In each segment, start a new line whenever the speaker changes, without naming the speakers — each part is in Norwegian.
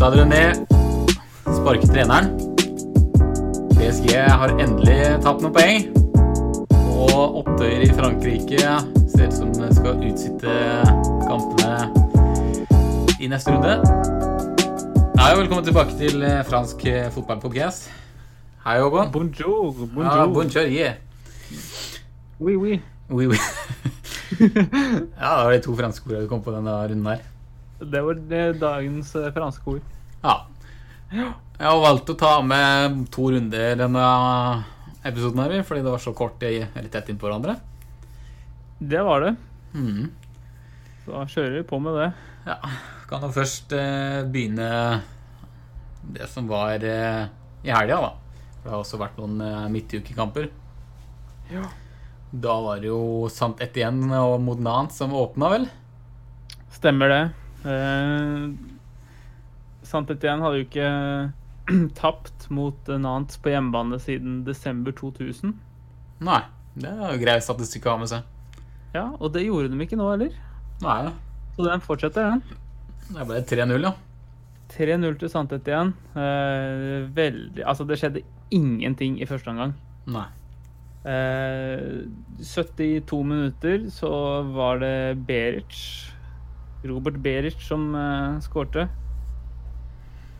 Kasta dere ned. Sparket treneren. PSG har endelig tapt noen poeng. Og opptøyer i Frankrike ser ut som det skal utsette kampene i neste runde. Hei og velkommen tilbake til eh, fransk eh, fotballpodcast. Hei, Håkon.
Bonjour, bonjour.
Ja, bonjour, yeah.
Oui, oui.
Oui, oui. Ja, det var de to franske ordene du kom på denne runden her.
det var eh, dagens eh, franske ord.
Ja. Jeg har valgt å ta med to runder denne episoden her, fordi det var så kort i- eller tett innpå hverandre.
Det var det.
Mhm.
Så da kjører vi på med det.
Ja. Kan jo først eh, begynne det som var eh, i helga, da. For det har også vært noen eh, midtukekamper.
Ja.
Da var det jo Sant Etienne og mot Nantes som åpna, vel?
Stemmer det. Eh, Saint-Étienne hadde jo ikke eh, tapt mot eh, Nantes på hjemmebane siden desember 2000.
Nei. Det er jo grei statistikk å ha med seg.
Ja, og det gjorde de ikke nå heller.
Nei,
Så den fortsetter, den.
det ble 3-0, ja.
3-0 til Saint-Étienne. Eh, veldig Altså, det skjedde ingenting i første omgang.
Nei.
Eh, 72 minutter så var det Beric, Robert Beric, som eh, skårte.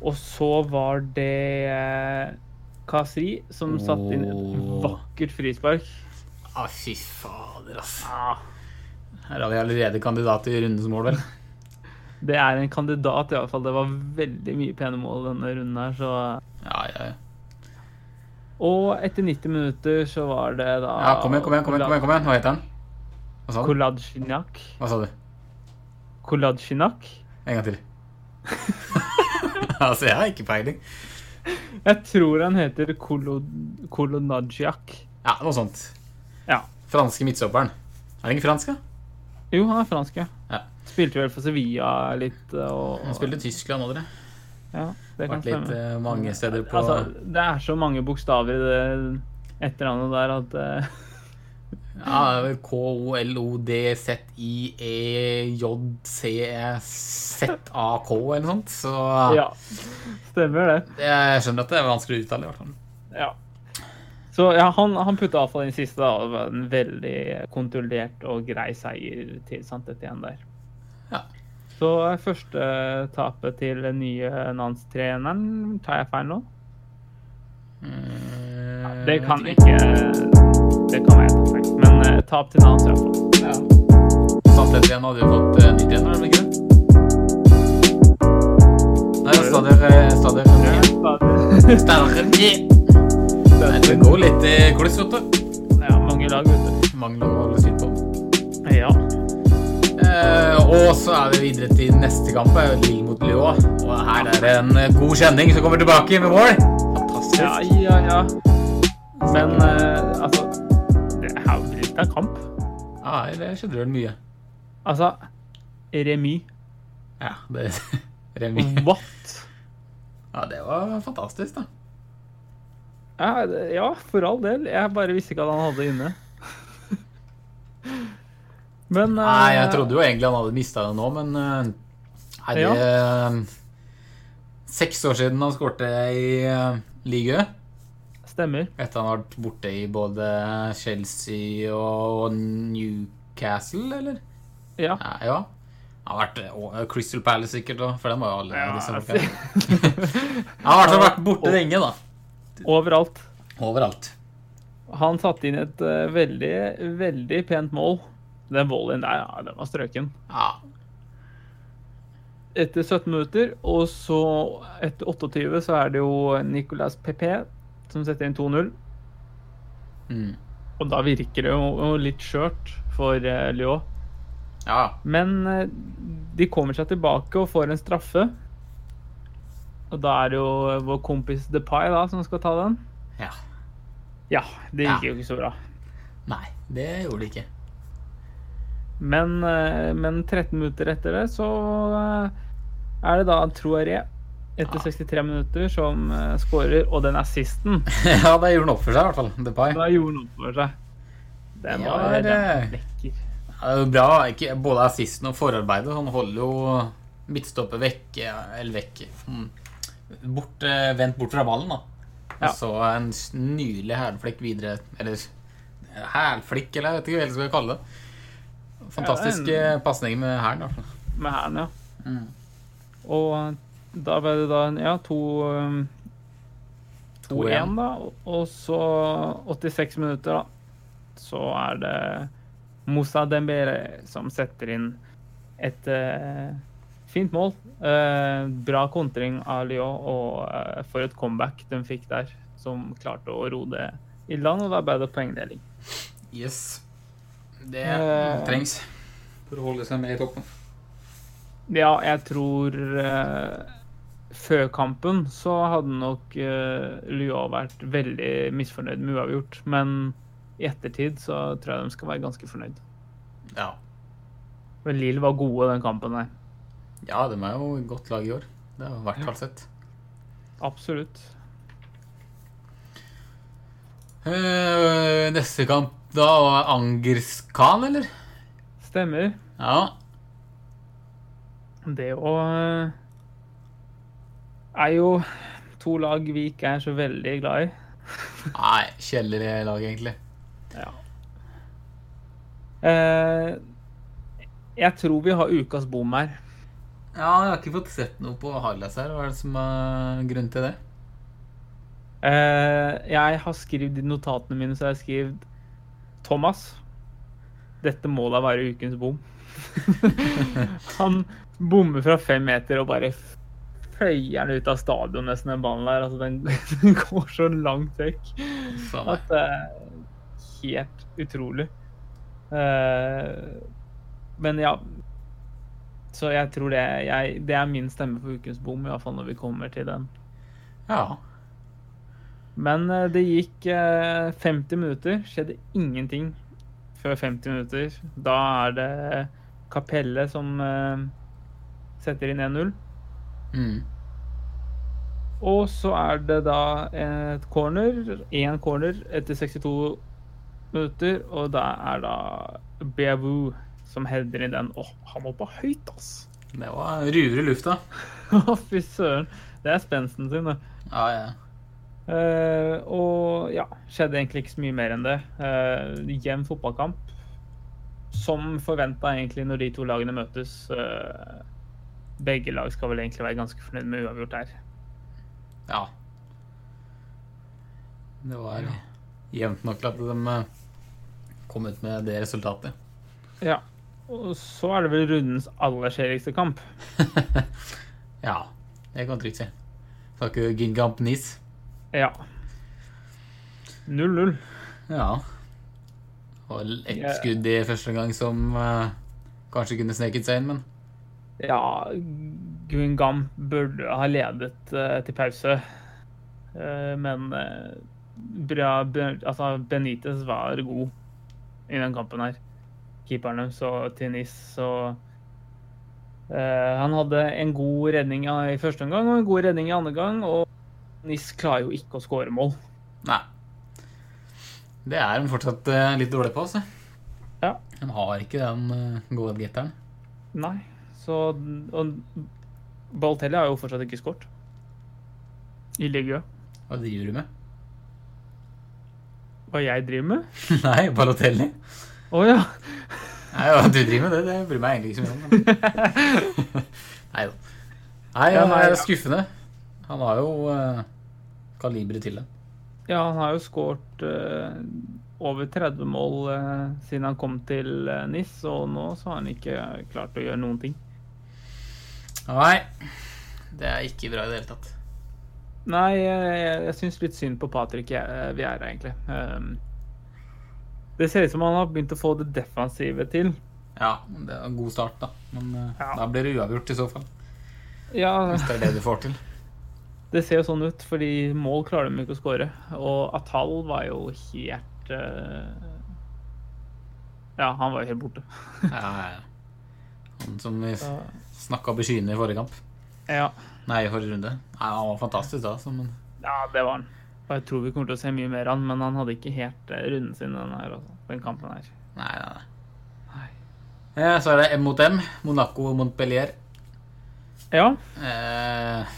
Og så var det eh, Kasri som satte inn et
Åh.
vakkert frispark.
Å, Ah, fy fader, ass.
Ah,
Her har vi allerede kandidat i rundens mål, vel?
det er en kandidat, iallfall. Det var veldig mye pene mål denne runden her, så
Ja, ja, ja.
Og etter 90 minutter så var det da
Ja, kom igjen, kom igjen, kom igjen, kom igjen, kom igjen. Hva heter han? Hva sa du?
Koladjinak.
Hva sa du?
Koladjinak.
En gang til. altså, jeg har ikke peiling.
Jeg tror han heter Kolo, Kolonadjak.
Ja, noe sånt.
Ja.
Franske midtstopperen. Er han ikke fransk, da?
Jo, han er fransk, ja.
Ja.
Spilte vel for Sevilla litt eh, og
Han spilte i Tyskland nå, dere.
Ja, det kan
Vært litt
stemme.
eh, mange steder på
Altså, det er så mange bokstaver i det etternavnet der at eh,
ja, K-O-L-O-D-Z-I-E-J-C-Z-A-K eller noe sånt. Så
Ja. Stemmer det.
jeg skjønner at det er vanskelig å uttale, i hvert fall.
Ja. Så ja, han, han putta iallfall inn siste, da. og Det var en veldig kontrollert og grei seier til Santetien der.
Ja.
Så eh, første tapet til den nye Nans-treneren, tar jeg feil nå?
Mm,
Det kan ikke Det kan være perfekt, men eh, tap til Nans iallfall.
Ja. Santet igjen hadde jo fått uh, nytt igjen, hadde de ikke det? Nei, det er stadier, eh, stadier
Ja,
nye.
stadig.
Stadier nye. Nei, Det går litt sånn, i kluss, vet du.
Ja, mange lag, vet
Mangler å holde styr på.
du. Ja.
Eh, og så er vi videre til neste kamp, er jo Lille mot Lyon. Og her er det en eh, god kjenning som kommer tilbake med mål. Fantastisk.
Ja, ja, ja. Men eh, altså Det er jo litt av kamp.
Ja, det skjedde vel mye.
Altså Remis.
Ja, det Remi.
Mm. What?
Ja, det var fantastisk, da.
Ja, det- ja, for all del. Jeg bare visste ikke at han hadde det inne. Men eh,
Nei, jeg trodde jo egentlig han hadde mista det nå, men eh, Nei, det eh, Seks år siden han skårte i uh, ligaen.
Stemmer.
Etter han har vært borte i både Chelsea og Newcastle, eller?
Ja.
Nei, ja. Han har vært og, Crystal Palace sikkert òg, for den var jo alle
Ja,
disse
altså.
folka. Han har i hvert fall vært borte lenge, da.
Overalt.
Overalt.
Han satte inn et eh, veldig, veldig pent mål. Den volleyen der, ja, den var strøken.
Ja.
Etter 17 minutter, og så etter 28, så er det jo Nicolas Pepe som setter inn 2-0.
Mm.
Og da virker det jo jo litt skjørt for eh, Lyon.
ja.
Men eh, de kommer seg tilbake og får en straffe. Og da er det jo vår kompis Depay da, som skal ta den.
Ja.
Ja, det
Ja.
gikk jo ikke så bra.
Nei, det gjorde det ikke.
Men, eh, men 13 minutter etter det, så eh, er det da Troaré etter
Ja.
63 minutter som eh, skårer, og den assisten
ja, det gjorde han opp for seg, i hvert fall. Depay.
da gjorde noe for seg. Den
Ja,
var,
det-
den var lekker.
Ja, Det er jo bra. Ikke, både assisten og forarbeidet. Han holder jo midtstopper vekk, eh, eller vekk mm. bort, eh, Vendt bort fra ballen, da. Og
Ja.
så en s- nydelig hælflikk videre. Eller hælflikk, eller jeg vet ikke hva jeg skal kalle det. Fantastisk
Ja,
eh, pasning med hælen, i hvert fall.
med hæren, ja.
Mm.
Og eh, da ble det da ja, to um, 2-1, da. og- Og så 86 minutter, da. Så er det Moussa Dembélé som setter inn et eh, fint mål. Eh, bra kontring av Lyon, og eh, for et comeback de fikk der, som klarte å ro det i land. Og da ble det poengdeling.
Yes. Det
Eh.
trengs for å holde seg med i toppen.
Ja, jeg tror eh, Før kampen så hadde nok eh, Lyon vært veldig misfornøyd med uavgjort. Men i ettertid så tror jeg de skal være ganske fornøyd.
Ja.
Men Lille var gode den kampen her.
ja, de er jo et godt lag i år. Det har vært hvert fall sett.
Absolutt.
Eh, neste kamp da var Angerskan, eller?
Stemmer.
Ja.
Det å eh, er jo to lag vi ikke er så veldig glad i.
Nei, kjedelig lag, egentlig.
Ja. Eh, jeg tror vi har ukas bom her.
Ja, jeg har ikke fått sett noe på highlights her. Hva er det som er grunnen til det?
Eh, jeg har skrevet i notatene mine så har jeg skrevet Thomas, dette må da være ukens bom. han bommer fra fem meter og bare f- føyer den ut av stadion, nesten, den ballen der. Altså, den, den går så langt vekk
Faen meg.
at det er helt utrolig. Eh, men ja. Så jeg tror det, jeg, det er min stemme for ukens bom, iallfall når vi kommer til den.
Ja.
Men eh, det gikk eh, 50 minutter, skjedde ingenting før 50 minutter. Da er det Kapelle som eh, setter inn 1-0.
Mm.
Og så er det da et corner, én corner etter 62 minutter, og da er da Beavu som header inn den. Åh, han var på høyt, ass!
Det var ruer i lufta.
Å, fy søren. Det er spensten sin, det.
Ja, ja.
Eh, og ja, skjedde egentlig ikke så mye mer enn det. Eh, jevn fotballkamp. Som forventa egentlig når de to lagene møtes. Eh, begge lag skal vel egentlig være ganske fornøyd med uavgjort her.
ja. Det var jevnt nok til at de eh, kom ut med det resultatet.
Ja. Og så er det vel rundens aller skjeveste kamp.
ja. Det kan du trygt si. Snakker Gingamp Nis.
Ja. 0-0.
Ja. Og ett skudd i første gang som eh, kanskje kunne sneket seg inn, men
Ja, Guingam burde ha ledet eh, til pause. Eh, men eh, bra, Ben- altså Benitez var god i den kampen her. Keeperen deres og Tinis så eh, Han hadde en god redning i første omgang og en god redning i andre gang. Og Nis klarer jo ikke å skåre mål.
Nei. Det er de fortsatt eh, litt dårlige på, altså.
Ja.
De har ikke den eh, godhetgeteren.
Nei, så Og Balotelli har jo fortsatt ikke skåret. I ligaen.
Hva driver du med?
Hva jeg driver med?
Nei, Balotelli?
Å ja!
Nei, hva du driver med det, det bryr meg egentlig ikke så mye om. Nei da. Nei,
Ja,
han
nei,
er
ja.
skuffende. Han har jo uh, kaliberet til det.
Ja, han har jo skåret eh, over 30 mål eh, siden han kom til eh, NIS, og nå så har han ikke klart å gjøre noen ting.
Nei, det er ikke bra i det hele tatt.
Nei, eh, jeg, jeg syns litt synd på Patrick eh, Vieira, egentlig. Ehm, det ser ut som han har begynt å få det defensive til.
Ja, det er en god start, da. Men eh,
Ja.
da blir det uavgjort i så fall.
Ja,
Hvis det er det du får til.
det ser jo sånn ut, fordi mål klarer de ikke å skåre. Og Atal var jo helt eh, Ja, han var jo helt borte.
Ja, ja, ja. Han som vi snakka beskyende i forrige kamp.
Ja.
Nei, i forrige runde. Nei, han var fantastisk da, så, men
Ja, det var han. Og jeg tror vi kommer til å se mye mer av han, men han hadde ikke helt eh, runden sin den, her, altså, den kampen her.
Nei, nei, nei.
Nei.
Eh, Så er det M mot M. Monaco og Montpellier.
Ja.
Eh,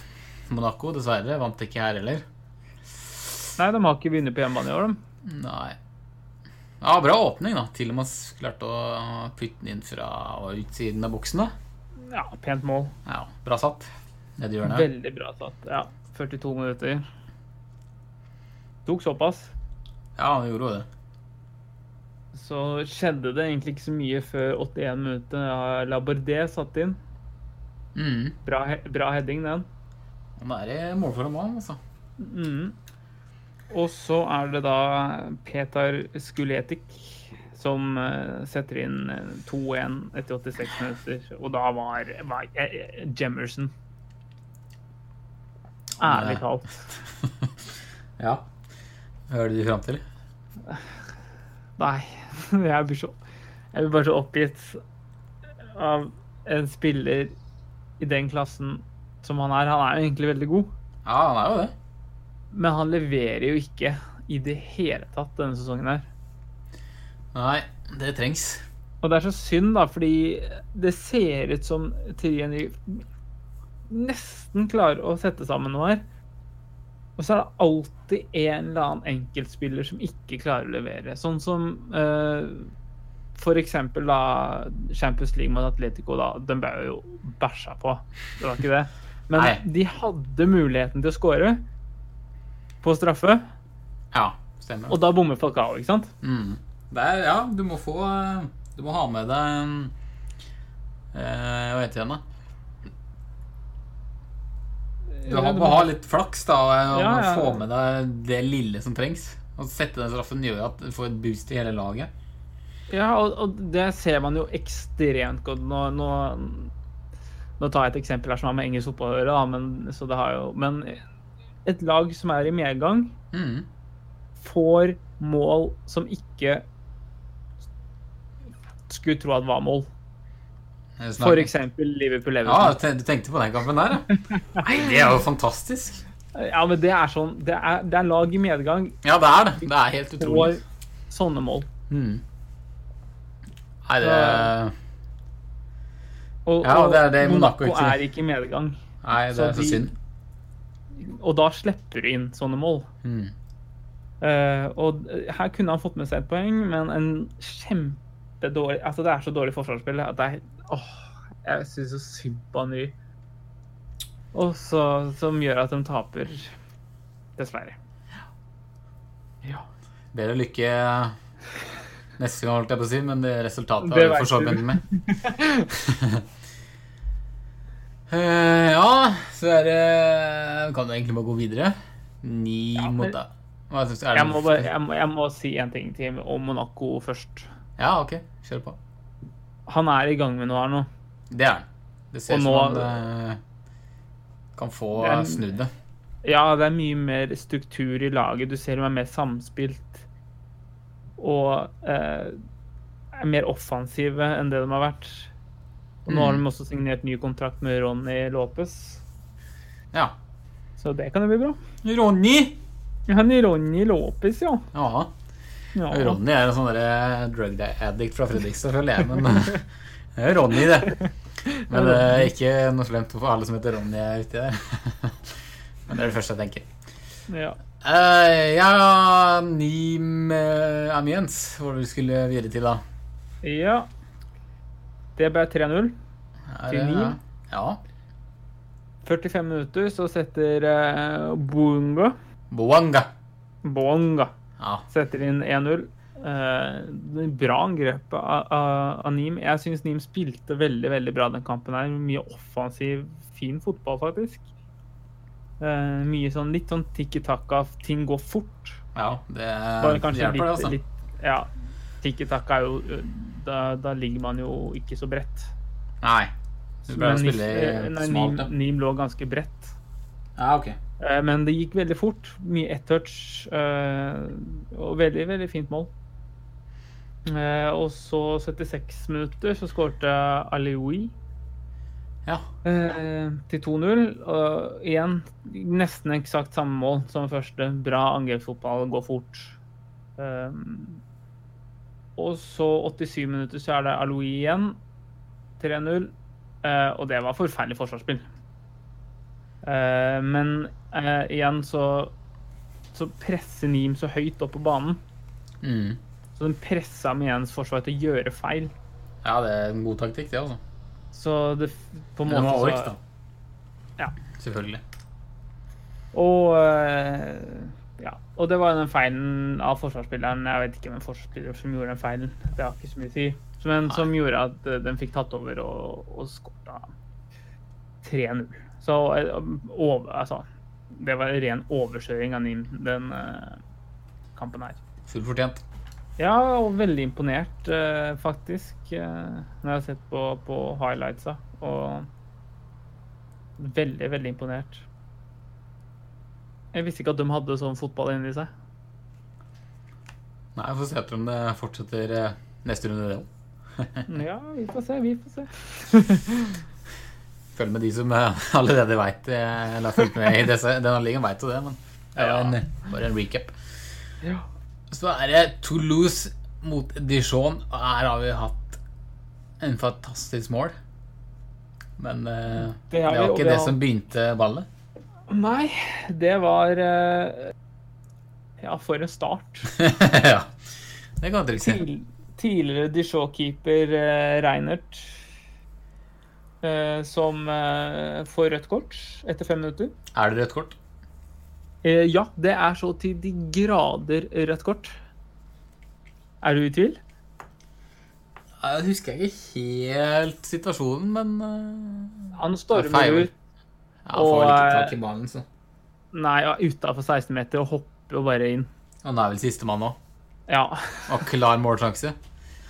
Monaco, dessverre, vant ikke her heller.
Nei, de har ikke vunnet på hjemmebane i år, de.
Nei. Ja, bra åpning, da. Til og med klarte å putte den inn fra og utsiden av buksen, da.
Ja, pent mål.
Ja, bra satt. Nede i hjørnet.
Veldig bra satt. Ja. 42 minutter. Tok såpass.
Ja, han gjorde jo det.
Så skjedde det egentlig ikke så mye før 81 minutter. Ja, Labordé satt inn.
Mm.
Bra, he bra heading, den.
Han er i målform òg, altså.
Mhm. Og så er det da Petar Skuletik som eh, setter inn eh, 2-1 etter 86 minutter. Og da var, var eh, Jemerson Ærlig talt.
Ja. Hva er det du fram til?
Nei. Jeg blir så Jeg blir bare så oppgitt av en spiller i den klassen som han er. Han er jo egentlig veldig god.
Ja, han er jo det.
Men han leverer jo ikke i det hele tatt denne sesongen her.
Nei, det trengs.
Og det er så synd, da, fordi det ser ut som Thierry Henry nesten klarer å sette sammen noe her. Og så er det alltid en eller annen enkeltspiller som ikke klarer å levere. Sånn som eh, for eksempel da Champions League mot Atletico, da. Den ble jo bæsja på. Det var ikke det. Men
Nei.
de hadde muligheten til å skåre på straffe,
Ja, stemmer.
og da bommer Falcao, ikke sant?
Mm. Det er, ja, du må få eh, Du må ha med deg eh, Hva heter det igjen, da? Du har, må ha litt flaks, da, eh, og
Ja, ja.
få med deg det lille som trengs. Og sette den straffen gjør at du får et boost i hele laget.
Ja, og, og det ser man jo ekstremt godt. Nå, nå, nå tar jeg et eksempel her som har med engelsk fotball å gjøre, da, men, så det har jo, men et lag som er i medgang,
Mm.
får mål som ikke skulle tro at var mål.
Jeg snakker-
For eksempel
Ja,
Liverpool-Everton.
te- du tenkte på den kampen der, ja. Nei, det er jo fantastisk.
Ja. men det er sånn Det er, det er lag i medgang
Ja, det er det. Det er helt
får
utrolig.
sånne mål.
Mm. Nei, det
Og,
Ja, det er det
og
Monaco
Monaco
ikke-
er ikke i medgang.
Nei, det er så
Så de-
synd.
Og da slipper du inn sånne mål.
Mm.
Eh, og her kunne han fått med seg et poeng, men en kjempedårlig Altså, det er så dårlig forsvarsspill at det er Åh, jeg syns så synd på Henry. Og så Som gjør at de taper. Dessverre. Ja.
Bedre lykke neste gang, holdt jeg på å si, men det resultatet
Det
har vi for så
vet
vidt
du.
med. Eh, ja, så er det Kan du egentlig bare gå videre? Ni
Ja,
mot
men-
deg. Hva syns du? Er det
Jeg må, bare, jeg, må, jeg må si en ting til om Monaco først.
Ja, OK. Kjør på.
Han er i gang med noe her nå.
Det er den. Det ser
Og
ut
nå-
som han eh, kan få
Det er-
snudd det.
Ja, det er mye mer struktur i laget. Du ser de er mer samspilt. Og eh, er mer offensive enn det de har vært. Og nå har de også signert ny kontrakt med Ronny Lopez,
Ja.
så det kan jo bli bra.
Ronny!
Han er Ronny Lopez, ja.
Ja.
ja.
Ronny er en sånn derre drug addict fra Fredrikstad, føler jeg. Men det er Ronny, det. Men det er ikke noe slemt for alle som heter Ronny er uti der. Men det er det første jeg tenker.
Ja.
Eh, ja, Neem eh, Amiens, hvor vi skulle videre til da.
ja. Det ble 3-0.
Er
Til
det-
Neem?
Ja.
45 minutter, så setter eh, Boanga
Boanga.
Boanga
Ja.
setter inn 1-0. Eh, det er bra angrep av, av, av Neem. Jeg syns Neem spilte veldig veldig bra den kampen. her. Mye offensiv, fin fotball, faktisk. Eh, mye sånn litt sånn tikki taka. Ting går fort.
ja det
Bare kanskje
hjelper,
litt,
det, altså.
litt Ja. Tikki taka er jo eh, da, da ligger man jo ikke så bredt.
Nei. Du pleier å
Men
spille
eh,
i
nei,
smalt, ja.
Neem, Neem lå ganske bredt.
Ja, ok.
Eh, Men det gikk veldig fort. Mye ett-touch. eh, Og veldig, veldig fint mål. Eh, Og så 76 minutter så skårte Alioui
Ja.
eh, til 2-0. Og igjen nesten eksakt samme mål som første. Bra angrepsfotball, går fort. Eh, Og så 87 minutter så er det Alioui igjen. 3-0. Eh, og det var forferdelig forsvarsspill. Eh, men eh, igjen så, så presser Neem så høyt opp på banen.
Mm.
Så den pressa Miens forsvar til å gjøre feil.
Ja, det er en god taktikk, det, altså.
Så det f- på en
Men det
måte
var
så-
ork, da.
Ja.
Selvfølgelig.
Og eh, ja. Og det var jo den feilen av forsvarsspilleren. Jeg vet ikke hvem forsvarsspiller som gjorde den feilen. Det har ikke så mye å si. Men som gjorde at eh, den fikk tatt over og, og skorta 3-0. Så eh, over, altså Det var ren overkjøring av NIM, den eh, kampen her.
Fullt fortjent.
Ja, og veldig imponert, eh, faktisk, eh, når jeg har sett på, på highlightsa. Og veldig, veldig imponert. Jeg visste ikke at de hadde sånn fotball inni seg.
Nei, vi får se etter om det fortsetter eh, neste runde, det òg.
Ja, vi får se, vi får se.
Følg med de som eh, allerede veit Eller har fulgt med i disse, denne ligaen, veit jo det, men det er jo en, bare en recap.
ja.
Så er det Toulouse mot Dijon, og her har vi hatt en fantastisk mål. Men eh,
Det
det
har vi,
var
og
ikke
vi
det
har-
som begynte ballet.
Nei, det var eh, Ja, for en start.
ja. Det kan jeg trygt si.
Tidl- tidligere Dijon-keeper eh, Reinert, eh, som eh, får rødt kort etter fem minutter.
Er det rødt kort?
Eh, ja, det er så til de grader rødt kort. Er du i tvil?
Ja, Jeg husker ikke helt situasjonen, men eh,
Han
Ja,
stormer
feil.
ut
ja, Han får vel
Og,
ikke
eh,
tak i ballen, så.
Nei, utafor 16 meter og hopper jo bare inn.
Han er vel sistemann òg.
Ja.
Og klar målsjanse.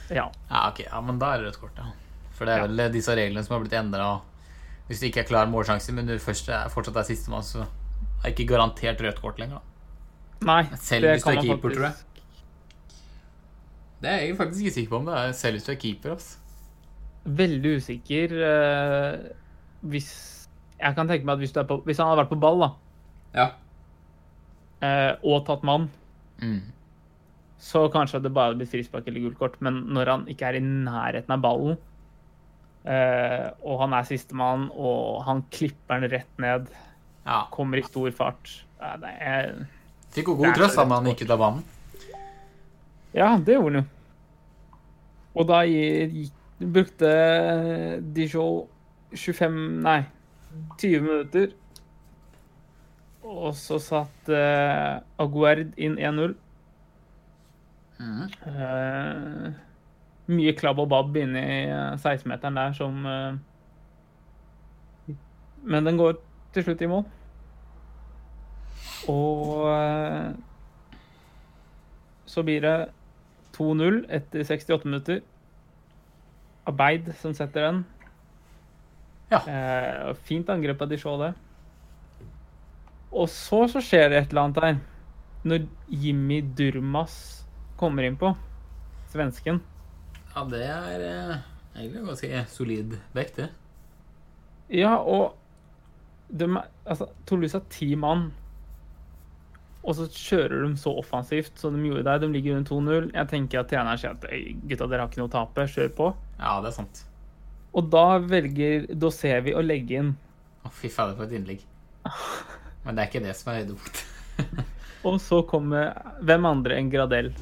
ja.
Ja, ok. Ja, men da er det rødt kort, ja. For det er vel eh, disse reglene som har blitt endra. Hvis du ikke er klar målsjanse, men du først er, fortsatt er sistemann, så er det ikke garantert rødt kort lenger. da.
Nei,
Selv hvis du er keeper, tror jeg. Det er jeg faktisk ikke sikker på om det er selv hvis du er keeper. ass.
Veldig usikker eh, hvis Jeg kan tenke meg at hvis, du er på, hvis han hadde vært på ball da,
Ja.
eh, og tatt mann,
Mm.
så kanskje det bare hadde blitt frispark eller gult kort. Men når han ikke er i nærheten av ballen, eh, og han er sistemann, og han klipper den rett ned,
ja.
kommer i stor fart Ja, det er,
Fikk jo
Det
god
er
trøst
så
da når han gikk ut av banen.
ja det gjorde han jo. Og da gikk, brukte eh, Dijon 25 Nei, 20 minutter. Og så satt eh, Aguerd inn 1-0. Eh, mye klabb og babb inne i eh, 16-meteren der som eh, Men den går til slutt i mål. Og eh, så blir det 2-0 etter 68 minutter. Arbeid som setter den.
Ja.
Eh, fint angrep av Dijon, det. Og så, så skjer det et eller annet der. Når Jimmy Durmas kommer innpå, svensken
Ja, det er eh, egentlig en ganske solid bekk, det.
Ja, og de, er- altså, Toulouse har ti mann. Og så kjører de så offensivt som de gjorde der. De ligger under 2-0. Jeg tenker at treneren sier at «Øy, gutta, dere har ikke noe å tape, kjør på.
Ja, det er sant.
Og da velger Dosevi å legge inn.
Å, fy fader, for et innlegg. Men det er ikke det som er høydepunktet.
Og så kommer hvem andre enn Gradel.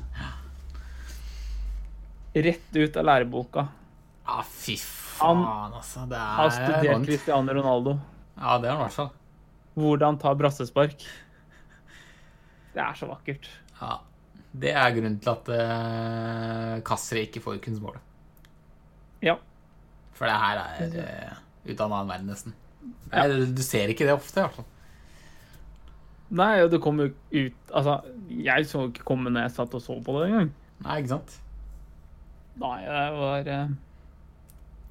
Rett ut av læreboka.
Ja, Ah, fy faen, altså. Det er
Har studert
langt.
Cristiano Ronaldo.
Ja, det er han i hvert fall.
Hvordan ta brassespark. Det er så vakkert.
Ja. Det er grunnen til at uh, Kassere ikke får kunstmålet.
Ja.
For det her er eh, ut av en annen verden, nesten. Nei, du- Du ser ikke det ofte, i hvert fall.
Nei, og det kom jo ut Altså, jeg så ikke komme når jeg satt og så på det engang.
Nei, ikke sant?
Nei, det var eh,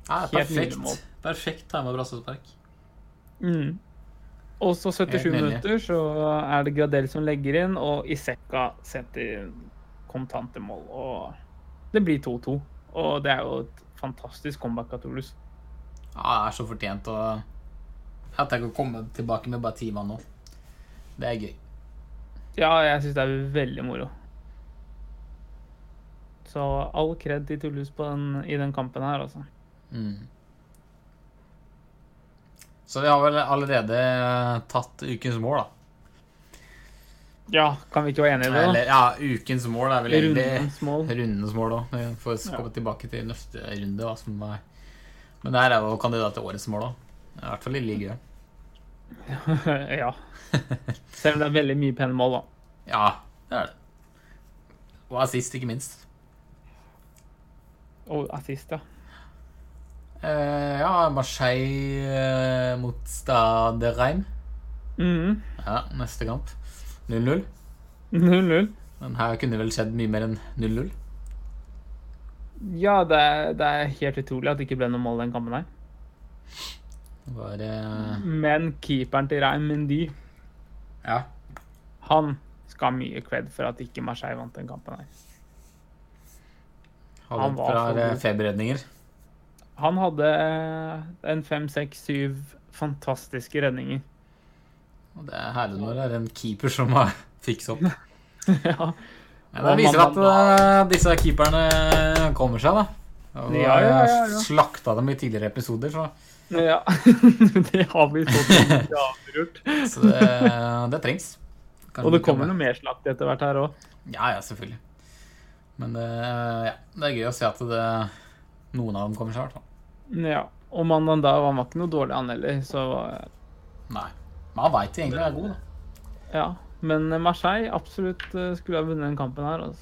Ja,
Helt nydemål.
perfekt. Perfekt time av brassespark.
mm. Og så 77
Helt nydelig.
minutter, så er det Gradel som legger inn, og Isekka setter kontante mål. Og det blir 2-2. Og det er jo et fantastisk comeback av Toulouse.
Ja, det er så fortjent å At jeg kan komme tilbake med bare ti mann nå. Det er gøy.
Ja, jeg syns det er veldig moro. Så all kred til Toulouse på den, i den kampen her, altså.
Mm. Så de har vel allerede eh, tatt ukens mål, da.
Ja, kan vi ikke være enige i det?
Eller, ja, ukens mål er vel
da?
egentlig
Rundens mål.
rundens mål òg. Vi får
Ja.
komme tilbake til neste runde. Hva som er. Men der er jo kandidat til årets mål òg. I hvert fall i ligaen.
ja. Selv om det er veldig mye pene mål, da.
Ja, det er det. Og assist, ikke minst.
Og assist, ja.
Eh, ja, Marseille eh, mot Stade Reim.
Mhm.
Ja, neste kamp. 0-0.
0-0.
Men her kunne vel skjedd mye mer enn 0-0.
Ja, det er, det er helt utrolig at det ikke ble noe mål den kampen her.
Det var eh,
Men keeperen til Reim Mendy,
Ja.
han skal ha mye cred for at ikke Marseille vant den kampen her.
Han
Han var
fra
for god.
eh, feberredninger.
Han hadde en fem, seks, syv fantastiske redninger.
Og det er herlig når det er en keeper som har fikset opp.
ja.
Men det viser at eh, disse keeperne kommer seg, da. Og
Ja, ja, ja, ja.
slakta dem i tidligere episoder, så,
ja. det har vi fått mye avgjort.
så det, det trengs. Kanskje
Og det
vi kan-
kommer noe mer slakt etter hvert her òg.
Ja, ja, selvfølgelig. Men det, ja, det er gøy å se at det, noen av dem kommer seg, i hvert fall.
Ja. Og mannen da han var ikke noe dårlig, han heller, så
Nei. Men han veit de egentlig er god, da.
ja. Men Marseille absolutt eh, skulle ha vunnet den kampen her. altså.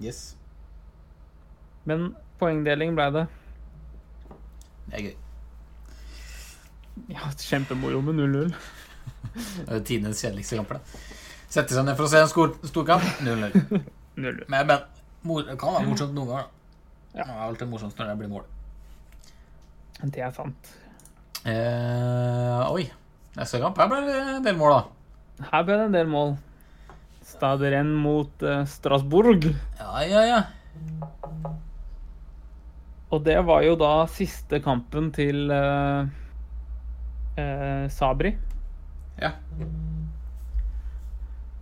Yes.
Men poengdeling ble det.
Det er gøy.
Ja, Kjempemoro med 0-0.
Det er jo tidenes kjedeligste kamp, det. Sette seg ned for å se en skor- storkamp. 0-0.
0-0.
Men, men mor, det kan være morsomt noen ganger, da.
Ja.
Det er alltid morsomt når det blir mål.
Det er sant.
Eh, oi. Neste kamp her ble det en del mål, da.
Her ble det en del mål. Stadig renn mot eh, Strasbourg.
Ja, ja, ja.
Og det var jo da siste kampen til eh, eh, Sabri.
Ja.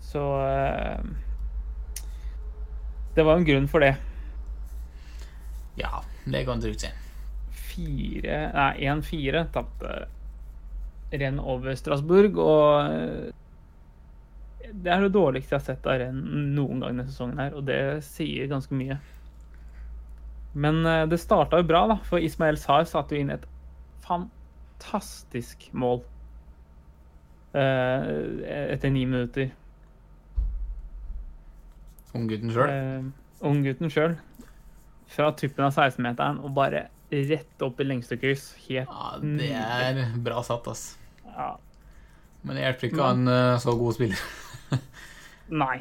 Så eh, Det var jo en grunn for det.
ja det kan du trygt si.
Fire Nei, 1-4 tapte renn over Strasbourg, og eh, det er det dårligste jeg har sett av renn noen gang denne sesongen her, og det sier ganske mye. Men eh, det starta jo bra, da, for Ismael Sar satte jo inn et fantastisk mål eh, etter ni minutter.
Unggutten sjøl.
Eh, Unggutten sjøl. Fra tuppen av 16-meteren og bare rett opp i lengste kryss. Helt
Ja, det er bra satt, ass.
ja,
Men det hjelper ikke å ha
Mm.
en eh, så god spiller.
Nei.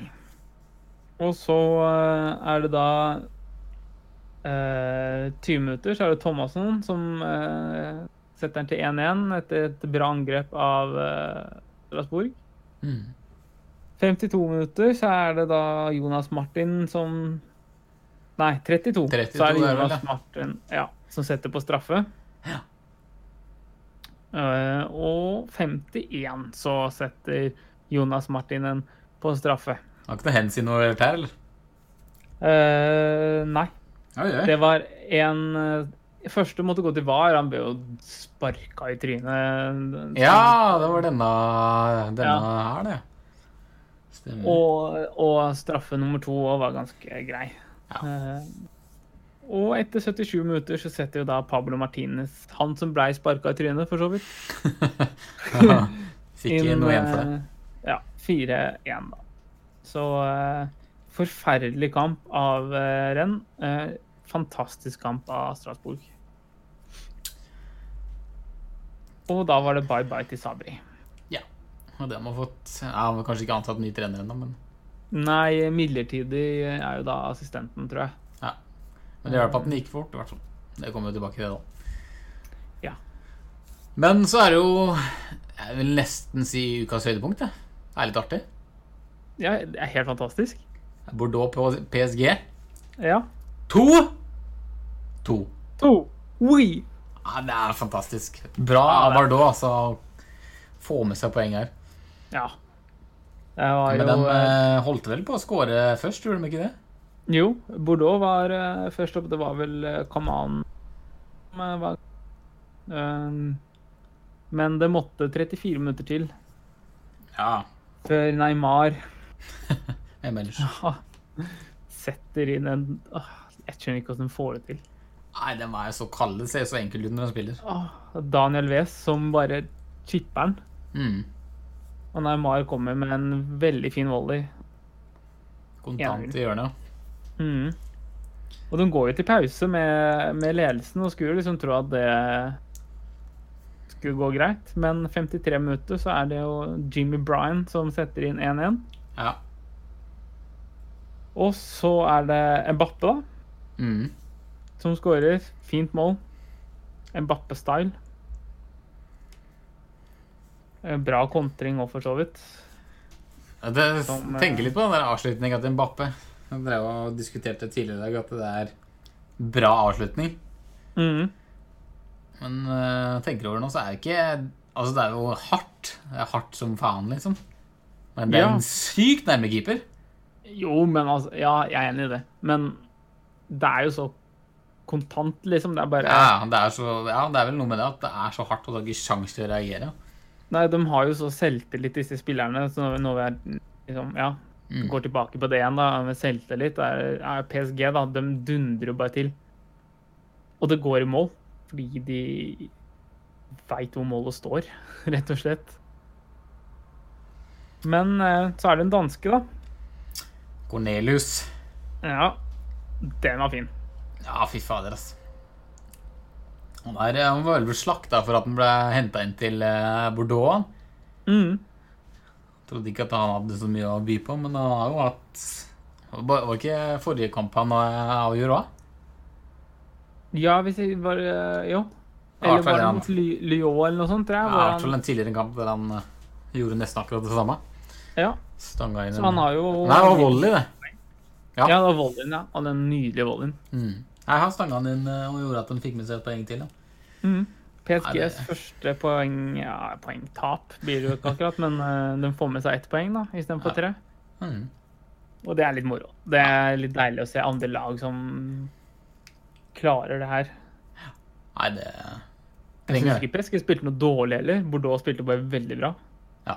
Og så eh, er det da eh, 20 minutter, så er det Thomassen som eh, setter den til 1-1 etter et bra angrep av eh, Strasbourg.
Mm.
52 minutter, så er det da Jonas Martin som Nei, 32.
32
så er det
er det vel,
Jonas Martin ja, som setter på straffe.
Ja.
Eh, og 51 så setter Jonas Martin en på straffe.
Har ikke noe hands involvert her, eller?
Eh, nei,
Oi, oi.
det var en eh, Første måtte gå til VAR. Han ble jo sparka i trynet.
Ja, det var denne, denne her, det. Stemmer.
Og, og straffe nummer to også var ganske grei.
Ja.
Eh, og etter 77 minutter så setter jo da Pablo Martinez, han som blei sparka i trynet, for så vidt,
Fikk ikke noe igjen for det.
eh, Ja. 4-1, da. Så eh, forferdelig kamp av eh, renn. Eh, fantastisk kamp av Strasbourg. Og da var det bye bye til Sabri.
Og den har fått ja, Han har kanskje ikke ansatt ny trener ennå, men,
Nei, midlertidig er jo da assistenten, tror jeg.
men det hjelper at den gikk fort, i hvert fall. Det kommer jo tilbake til det, da.
Ja.
Men så er det jo Jeg vil nesten si ukas høydepunkt, jeg. Det er litt artig.
Ja, det er helt fantastisk.
Bordeaux på PSG.
Ja.
To! To.
To. Oui.
Ja, det er fantastisk. Bra
Ja,
av
det er-
Bordeaux, altså. å Få med seg poeng her.
Ja. Det var jo
Men de
eh,
eh, holdt vel på å skåre først, gjorde de ikke det?
Jo, Bordeaux var eh, først opp. Det var vel eh, Kaman som eh, var eh, Men det måtte 34 minutter til
Ja.
før Neymar
Hvem ellers?
ah, setter inn en ah, Jeg skjønner ikke hvordan han får det til.
Nei, de er jo så kalde. Det ser så enkelt ut når de spiller.
Ah, Daniel Wes som bare chipper den.
Mm.
Og Neymar kommer med en veldig fin volley.
Kontant i hjørnet.
Mhm. Og de går jo til pause med, med ledelsen og skulle liksom tro at det skulle gå greit. Men 53 minutter så er det jo Jimmy Bryan som setter inn 1-1.
Ja.
Og så er det Mbappe, da,
Mm.
som skårer. Fint mål. Mbappe-style. Eh, Bra kontring òg, for så vidt.
Ja, Det,
Som, eh,
tenker litt på den der avslutninga til Mbappe. Jeg drev og diskuterte tidligere i dag at det er bra avslutning.
Mhm.
Men eh, tenker over nå, så er det ikke Altså, det er jo hardt. Det er hardt som faen, liksom. Men det er
Ja.
en sykt nærme keeper.
Jo, men altså Ja, jeg er enig i det. Men det er jo så kontant, liksom. Det er bare
Ja, det er, så, ja, det er vel noe med det at det er så hardt, og du har ikke sjans til å reagere.
Nei, de har jo så selvtillit, disse spillerne. Så når vi, når vi er, liksom, ja,
Mm.
går tilbake på det igjen, da, med selvtillit, er, er PSG, da. De dundrer jo bare til. Og det går i mål, fordi de veit hvor målet står, rett og slett. Men eh, så er det en danske, da.
Cornelius.
Ja, den var fin.
Ja, fy fader, ass. Han, er, eh, han var vel slakta for at han ble henta inn til eh, Bordeaux. han.
Mm.
Trodde ikke at han hadde så mye å by på, men han har jo hatt Det Var var ikke forrige kamp han eh, avgjorde òg?
Ja, hvis jeg bare Jo.
Ja, i
Eller
hvert fall
var det
han.
mot Ly- Lyon eller noe sånt, tror
Ja,
jeg.
I
hvor
hvert fall
han-
en tidligere kamp der han eh, gjorde nesten akkurat det samme.
Ja,
Stanga inn
så han har jo
Nei, det var volley, det. ja.
Ja, det var volleyen, ja. Og den nydelige volleyen.
Mm. Nei, han stanga han inn eh, og gjorde at han fikk med seg et poeng til. Da. Nei,
PSGs
det-
første poeng ja, poengtap blir det jo ikke akkurat, men eh, de får med seg ett poeng da, istedenfor
Ja.
tre.
Mm.
Og det er litt moro. Det er litt deilig å se andre lag som klarer det her.
Nei, det
Jeg
trenger
syns
det.
ikke PSG spilte noe dårlig heller. Bordeaux spilte bare veldig bra.
Ja.